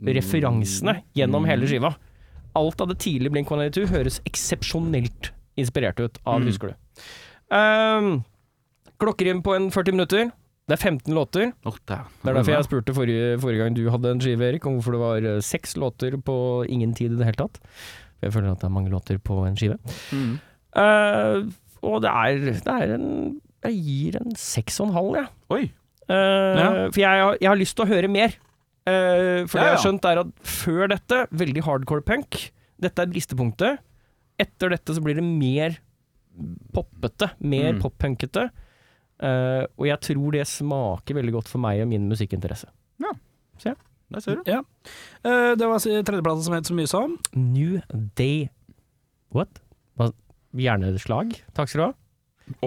182-referansene gjennom hele skiva. Alt av det tidlige Blink 182 høres eksepsjonelt inspirert ut av Husker du. Eh, klokkerim på en 40 minutter. Det er 15 låter.
Å, dæven.
Det er derfor jeg spurte forrige, forrige gang du hadde en skive, Erik, om hvorfor det var eh, seks låter på ingen tid i det hele tatt. For jeg føler at det er mange låter på en skive.
Mm.
Eh, og det er, det er en Jeg gir en seks og en halv, jeg.
Oi.
Eh,
Ja.
For jeg, har- jeg har lyst til å høre mer. Eh, for det
Ja,
jeg
ja.
har skjønt, er at før dette, veldig hardcore punk. Dette er bristepunktet. Etter dette så blir det mer poppete. Mer
Mm.
poppunkete. Eh, og jeg tror det smaker veldig godt for meg og min musikkinteresse.
Der ser du.
Eh, Det var si- tredjeplata som het så mye som
New Day What? Hva? Hjerneslag? Takk skal du ha.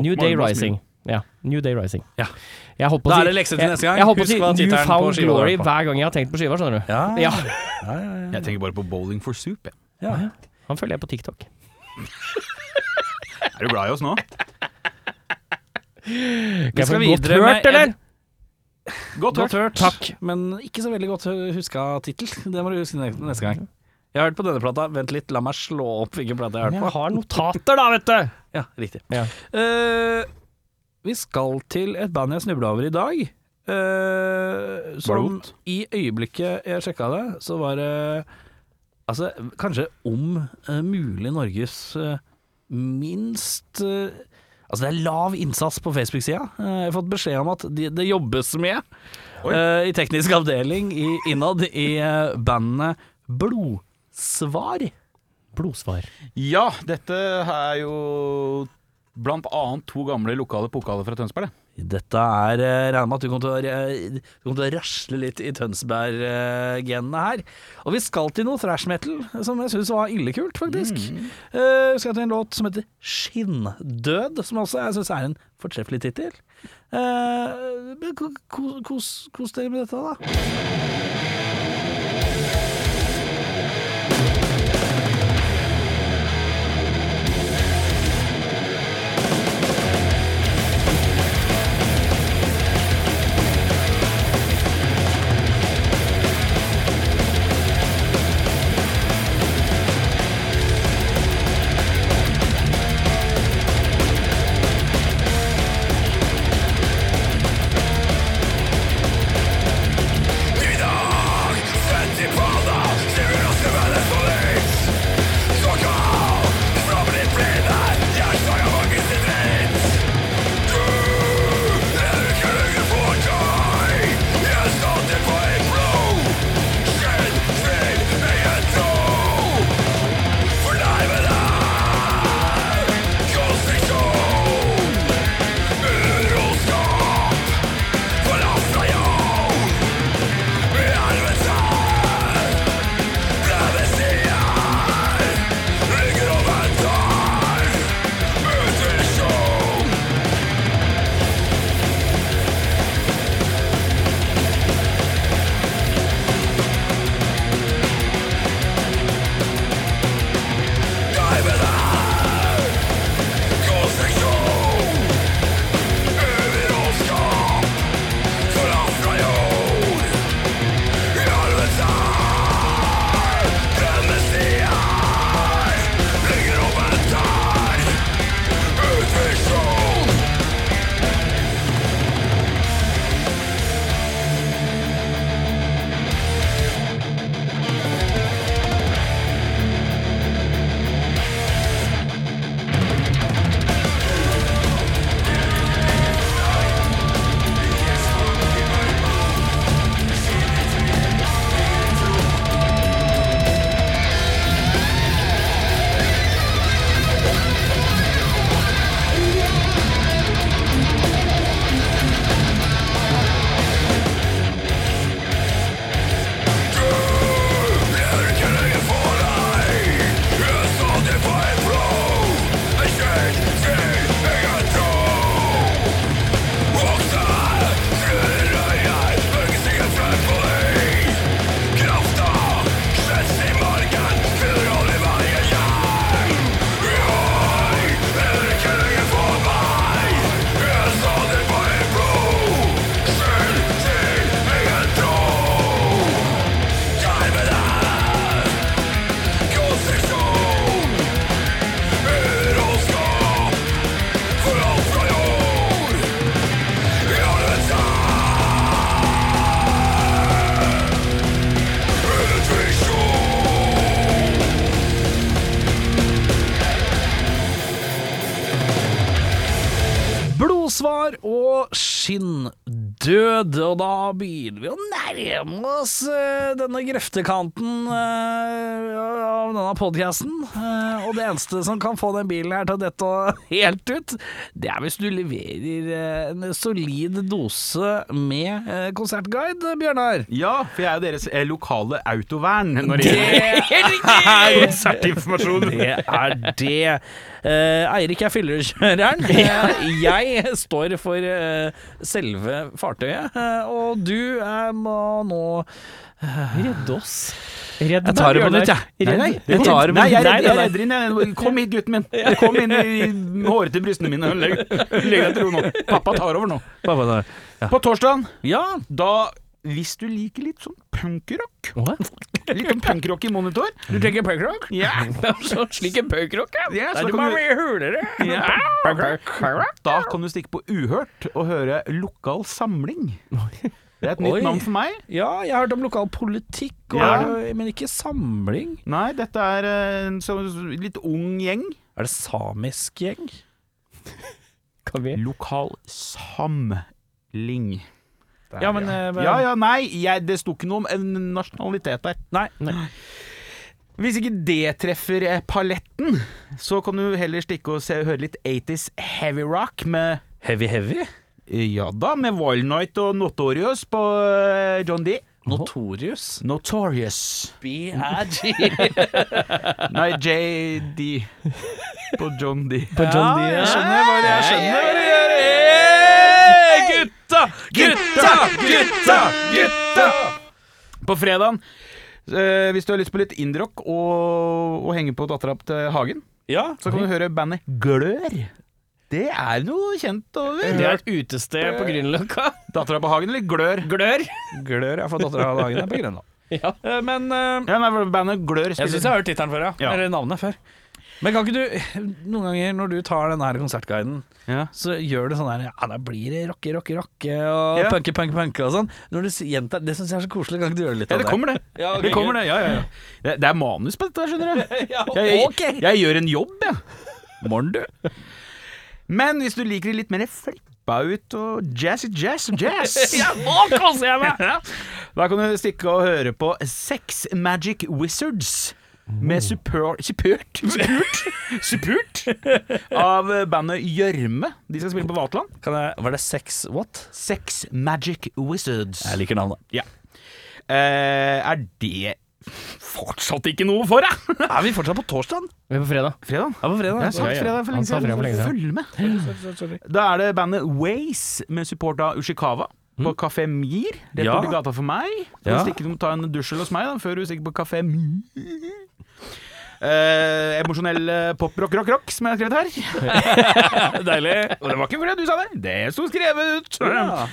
New Day Rising. Ja. New Day Rising.
Ja.
Jeg holdt på å
Da
si-
er det lekse til
jeg-
neste gang.
Jeg holdt på å
Husk
si
hva
New
tittelen på
Found
skiva
Glory
var på.
hver gang jeg har tenkt på skiva, skjønner du.
Ja.
Ja.
Jeg tenker bare på Bowling for soup. Jeg.
Han følger jeg på TikTok.
Er du glad i oss nå?
Skal jeg
skal
få godt
videre
hørt,
med
eller?
Godt hørt.
Godt hørt, *laughs* men ikke så veldig godt eh, huska tittel. *laughs* Det må du huske ne- neste gang. Jeg har hørt på denne plata. Vent litt, la meg slå opp hvilken plate jeg har
Jeg
hørt på.
har notater, da, vet du!
Ja, riktig.
Ja.
Eh, vi skal til et band jeg snubla over i dag. eh, som
vondt?
i øyeblikket jeg sjekka det, så var det Altså, kanskje om eh, mulig Norges eh, minst eh, Altså, det er lav innsats på Facebook-sida. Eh, jeg har fått beskjed om at de, det jobbes med eh, i teknisk avdeling i, innad i eh, bandet Blodsvar.
Blodsvar.
Ja, dette er jo blant annet to gamle lokale pokaler fra Tønsberg. det.
Dette er eh, Regner med at du kommer til å, eh, du kommer til å rasle litt i Tønsberg-genene her. Og vi skal til noe thrash metal som jeg syns var illekult, faktisk. Eh, Vi skal til en låt som heter Skinndød, som også jeg syns er en fortreffelig tittel. Eh, men ko- ko- Kos kos dere med dette, da.
Neither
Svar og skinndød. Og da begynner vi å nærme oss eh, denne grøftekanten eh, av denne podkasten. og det eneste som kan få den bilen her til å dette *laughs* helt ut, det er hvis du leverer eh, en solid dose med eh, konsertguide, Bjørnar.
Ja, for jeg er jo deres eh, lokale autovern når det
*laughs* Helt riktig!
konsertinformasjon.
*laughs* Det er det. Eh, Eirik er
*laughs*
fyllekjøreren. Eh, jeg står for eh, selve fartøyet, eh, og du eh, må nå
Redd oss. Redd
Jeg tar det på nytt, jeg.
Nei, nei,
Jeg tar det på
nei, jeg
nytt.
redder- jeg redder inn. jeg. Kom hit, gutten min. Kom inn i hårete brystene mine. Legg, legg deg til ro nå. Pappa tar over nå.
Pappa,
På torsdagen,
Ja,
da Hvis du liker litt sånn punkrock Litt sånn punkrock i monitor.
du tenker
*laughs*
punkrock?
Ja,
Slik en punkrock, ja.
ja,
Nei,
så
du
da
må
kan du,
bli hulere.
da kan du stikke på Uhørt og høre Lokal samling. Det er et nytt
Oi.
navn for meg.
Ja, jeg har hørt om lokal politikk, og,
Ja.
men ikke samling.
Nei, dette er eh, en så, litt ung gjeng.
Er det samisk gjeng?
Kan vi
Lokal samling.
Ja, men, eh, men-
Ja ja, nei, jeg, det sto ikke noe om en nasjonalitet der.
Nei.
Hvis ikke det treffer eh, paletten, så kan du heller stikke og se, høre litt 80s heavy rock med eh,
Heavy Heavy?
Ja da, med Wild Night og Notorious på eh, John D.
Notorious?
Notorious.
B.I.G.
Nei, JD. På
*laughs*
John D.
På John D. Jeg skjønner hva det er. Jeg skjønner hva det
eh,
er. Hey, Gutta! Gutta! Gutta! Gutta!
På fredagen, eh, hvis du har lyst på litt indrock og, og henge på dattera til Hagen,
Ja,
så kan du høre bandet Glør. Det er noe kjent over.
Det er et utested på Grünerløkka.
Dattera på Hagen eller Glør?
Glør.
glør jeg for dattera av dagen er på Grønland.
Ja.
Eh, Men eh,
Ja, nei, bandet Glør
jeg syns jeg
spiller
har hørt tittelen før, ja.
Ja.
Eller navnet før. Men kan ikke du, noen ganger når du tar den her konsertguiden,
ja.
så gjør du sånn her Ja, da blir det rocke, rocke, rocke og
Ja.
punke, punke, punke og sånn. Når du s- gjentar Det syns jeg er så koselig. Kan ikke du gjøre litt
ja,
av
det kommer, det.
Ja, ok,
det, kommer det. Ja, ja, ja. Det, det er manus på dette, skjønner du.
*laughs* Ja,
Jeg, jeg,
ok.
jeg, gjør en jobb, jeg. Morn, du. Men hvis du liker det litt mer flippa ut og jazzy jazz og
*laughs*
jazz
Nå koser jeg
*laughs*
meg!
Da kan du stikke og høre på Sex Magic Wizards med support
*laughs*
Suppurt? Suppurt? suppurt av bandet Gjørme. De skal spille på Vaterland.
Kan jeg, var det sex what?
Sex Magic Wizards.
Jeg liker navnet.
Eh, er det fortsatt ikke noe for deg?
Er vi fortsatt på torsdagen?
Vi er på fredag.
Fredag?
Ja, på fredag.
Jeg har sagt fredag for
Han
lenge
sa fredag for lenge
siden.
siden.
Følg med. Da er det bandet Waze med support av Ushikawa. På Kafé Mir, rett
Mm. Ja.
borti gata for meg. Så
Ja.
stikker du og tar en dusjel hos meg da, før du stikker på Kafé Mir. Eh, emosjonell eh, pop, rock, rock, rock, som jeg har skrevet her.
*laughs* Deilig.
Og det var ikke fordi du sa det, det sto skrevet ut!
Ja.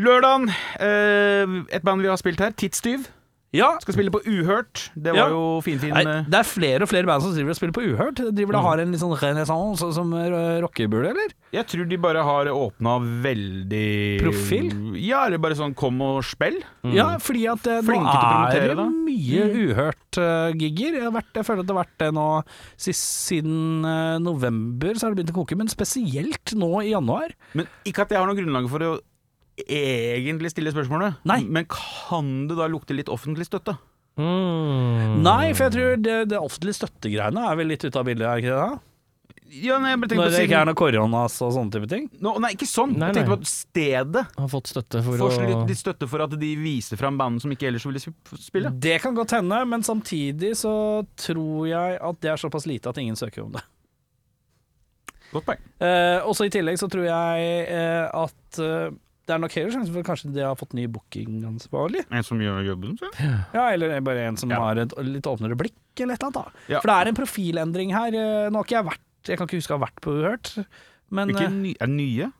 Lørdagen, eh, et band vi har spilt her, Tidstyv.
Ja.
Skal spille på Uhørt. Det
Ja.
var jo finfin
Nei,
eh,
det er flere og flere band som driver og spiller på Uhørt. De Driver
Mm.
og har en litt sånn renessanse som eh, rockebule, eller?
Jeg tror de bare har åpna veldig
Profil?
Ja, eller bare sånn kom og spill.
Mm.
Ja, fordi at eh, nå
Flinke til å
er
promotere
det mye Uhørt-gigger. Jeg, har vært- jeg føler at det har vært det nå sist, siden eh, november, så har det begynt å koke. Men spesielt nå i januar.
Men ikke at jeg har noe grunnlag for å egentlig stille spørsmålet.
Nei.
Men kan det da lukte litt offentlig støtte?
Mm.
Mm.
Nei, for jeg tror det, det offentlige støttegreiene er vel litt ute av bildet, er ikke det? da?
Ja, nei, jeg bare tenkte
Når
på
det ikke
siden-
er noe koronas og sånne type ting.
Nå, nei, ikke sånn.
Nei,
jeg tenkte
nei.
på at stedet
Har fått støtte for
får
å
litt, litt støtte for at de viser fram band som ikke ellers ville sp-
Mm.
spille.
Det kan godt hende, men samtidig så tror jeg at det er såpass lite at ingen søker om det.
Godt poeng.
Eh, også i tillegg så tror jeg eh, at eh, det er nok høyere sjanse for at kanskje de har fått ny bookingansvarlig.
En som gjør jobben sin.
Ja, eller bare en som
Ja.
har et litt åpnere blikk, eller et eller annet. da.
Ja.
For det er en profilendring her. eh, Nå har ikke jeg vært Jeg kan ikke huske å ha vært på Uhørt, men
Ikke
eh,
ny, er det nye?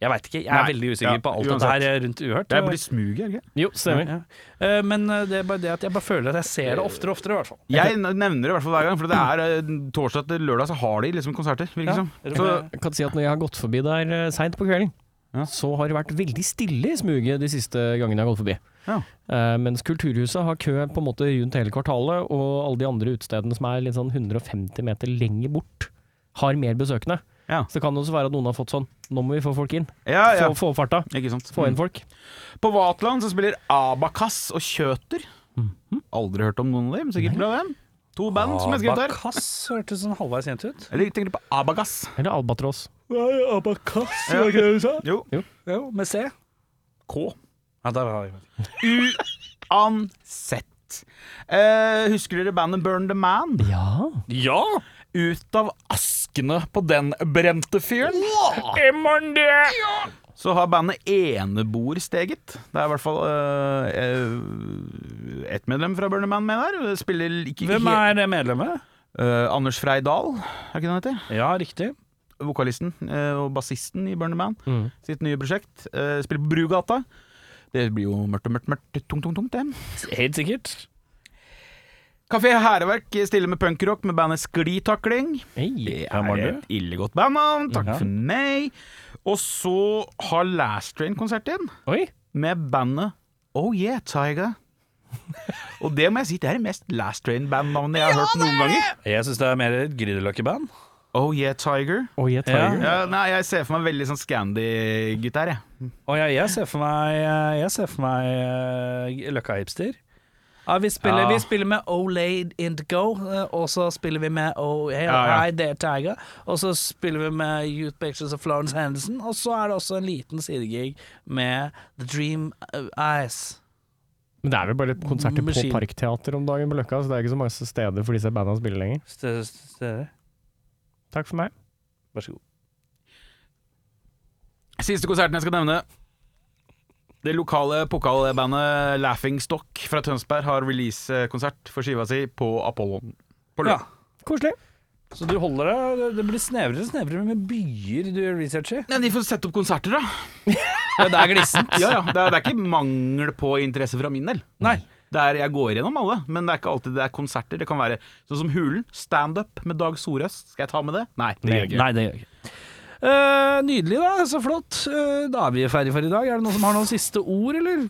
jeg veit ikke. Jeg er
Nei.
veldig usikker
Ja,
på alt dette her
uansett.
eh, rundt Uhørt.
Det er bare smuget, er det ikke?
Jo, stemmer.
Ja. Eh, Men eh, det er bare det at jeg bare føler at jeg ser det oftere og oftere, i hvert fall.
Jeg nevner det i hvert fall hver gang, for det er eh, torsdag til lørdag så har de liksom konserter, virker det som. Så-
Eh,
Jeg kan si at når jeg har gått forbi der eh, sent på kvelden,
Ja.
så har det vært veldig stille i smuget de siste gangene jeg har gått forbi.
Ja.
Eh, mens Kulturhuset har kø på en måte rundt hele kvartalet, og alle de andre utestedene som er litt sånn 150 meter lenger bort, har mer besøkende.
Ja.
Så det kan det også være at noen har fått sånn Nå må vi få folk inn.
Ja, ja. Mm.
Få, få opp farta.
Ikke sant.
Få inn folk.
På Vatland så spiller Abakas og Kjøter. Aldri hørt om noen av dem. Sikkert bra, dem. To band som jeg skrev der.
Abakas hørtes sånn halvveis kjent ut.
Eller tenker du på Abagas?
Eller Albatross.
Nei, Abakas,
var ikke
det du sa?
Jo.
Jo, med C.
K.
Ja, der var jeg.
Uansett. Eh, husker dere bandet Burn the Man?
Ja.
Ja!
Ut av askene på den brente fyren. Så har bandet Eneboer steget. Det er i hvert fall eh, eh, ett medlem fra Burn the Man med der. Det Spiller ikke
Hvem er det medlemmet?
Eh, Anders Frei Dahl, er ikke det han heter?
Ja, riktig.
vokalisten eh, og bassisten i Burn the Man,
Mm.
sitt nye prosjekt. Eh, Spiller på Brugata. Det blir jo mørkt og mørkt, mørkt, tungt, tungt, tungt, det.
Helt sikkert.
Kafé Hæreverk stiller med punkrock med bandet Sklitakling.
Hei.
Det
Hvem var
er
det? Mhm.
et illegodt bandnavn, takk
Ja.
for meg. Og så har Last Train konsert igjen,
Oi.
med bandet Oh Yeah Tiger. Og det må jeg si, det er det mest Last Train-bandnavnet jeg har hørt noen ganger.
Jeg syns det er mer et Grünerløkka-band.
Oh Yeah Tiger.
Oi, jeg tar
Ja.
jo.
Ja, nei, jeg ser for meg veldig sånn Scandy-gutt her, jeg.
Og jeg, jeg ser for meg, jeg ser for meg eh, Løkka-hipster. Ja, vi spiller,
Ja.
vi spiller med Olay Indigo, eh, og så spiller vi med Oh Hey,
Ja, ja.
Hi There Tiger. Og så spiller vi med Youth Pictures of Florence Henderson, og så er det også en liten sidegig med The Dream Eyes.
Men det er vel bare konserter på
Maskin.
Parkteatret om dagen på Løkka, så det er ikke så mange steder for disse bandene å spille lenger.
Steder.
Takk for meg.
Vær så god.
Siste konserten jeg skal nevne Det lokale pokalbandet Laughing Stock fra Tønsberg har release-konsert for skiva si på Apollon. På
Ja.
Lø-
Koselig.
Så du holder deg Det blir snevrere og snevrere med byer du researcher.
Nei, de får sette opp konserter, da.
Ja, det er
*laughs*
glissent.
Ja, ja. Det, er, det er ikke mangel på interesse fra min del.
Nei.
Det er, jeg går gjennom alle, men det er ikke alltid det er konserter. Det kan være sånn som Hulen. Standup med Dag Sorøs. Skal jeg ta med det? Nei. det gjør jeg ikke.
Nei, det gjør jeg ikke. Eh, nydelig, da. Så flott. Eh, da er vi ferdige for i dag. Er det noen som har noen siste ord, eller?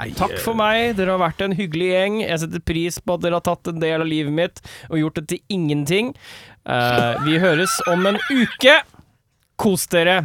Nei,
Takk for meg, dere har vært en hyggelig gjeng. Jeg setter pris på at dere har tatt en del av livet mitt og gjort det til ingenting. Eh, vi høres om en uke. Kos dere.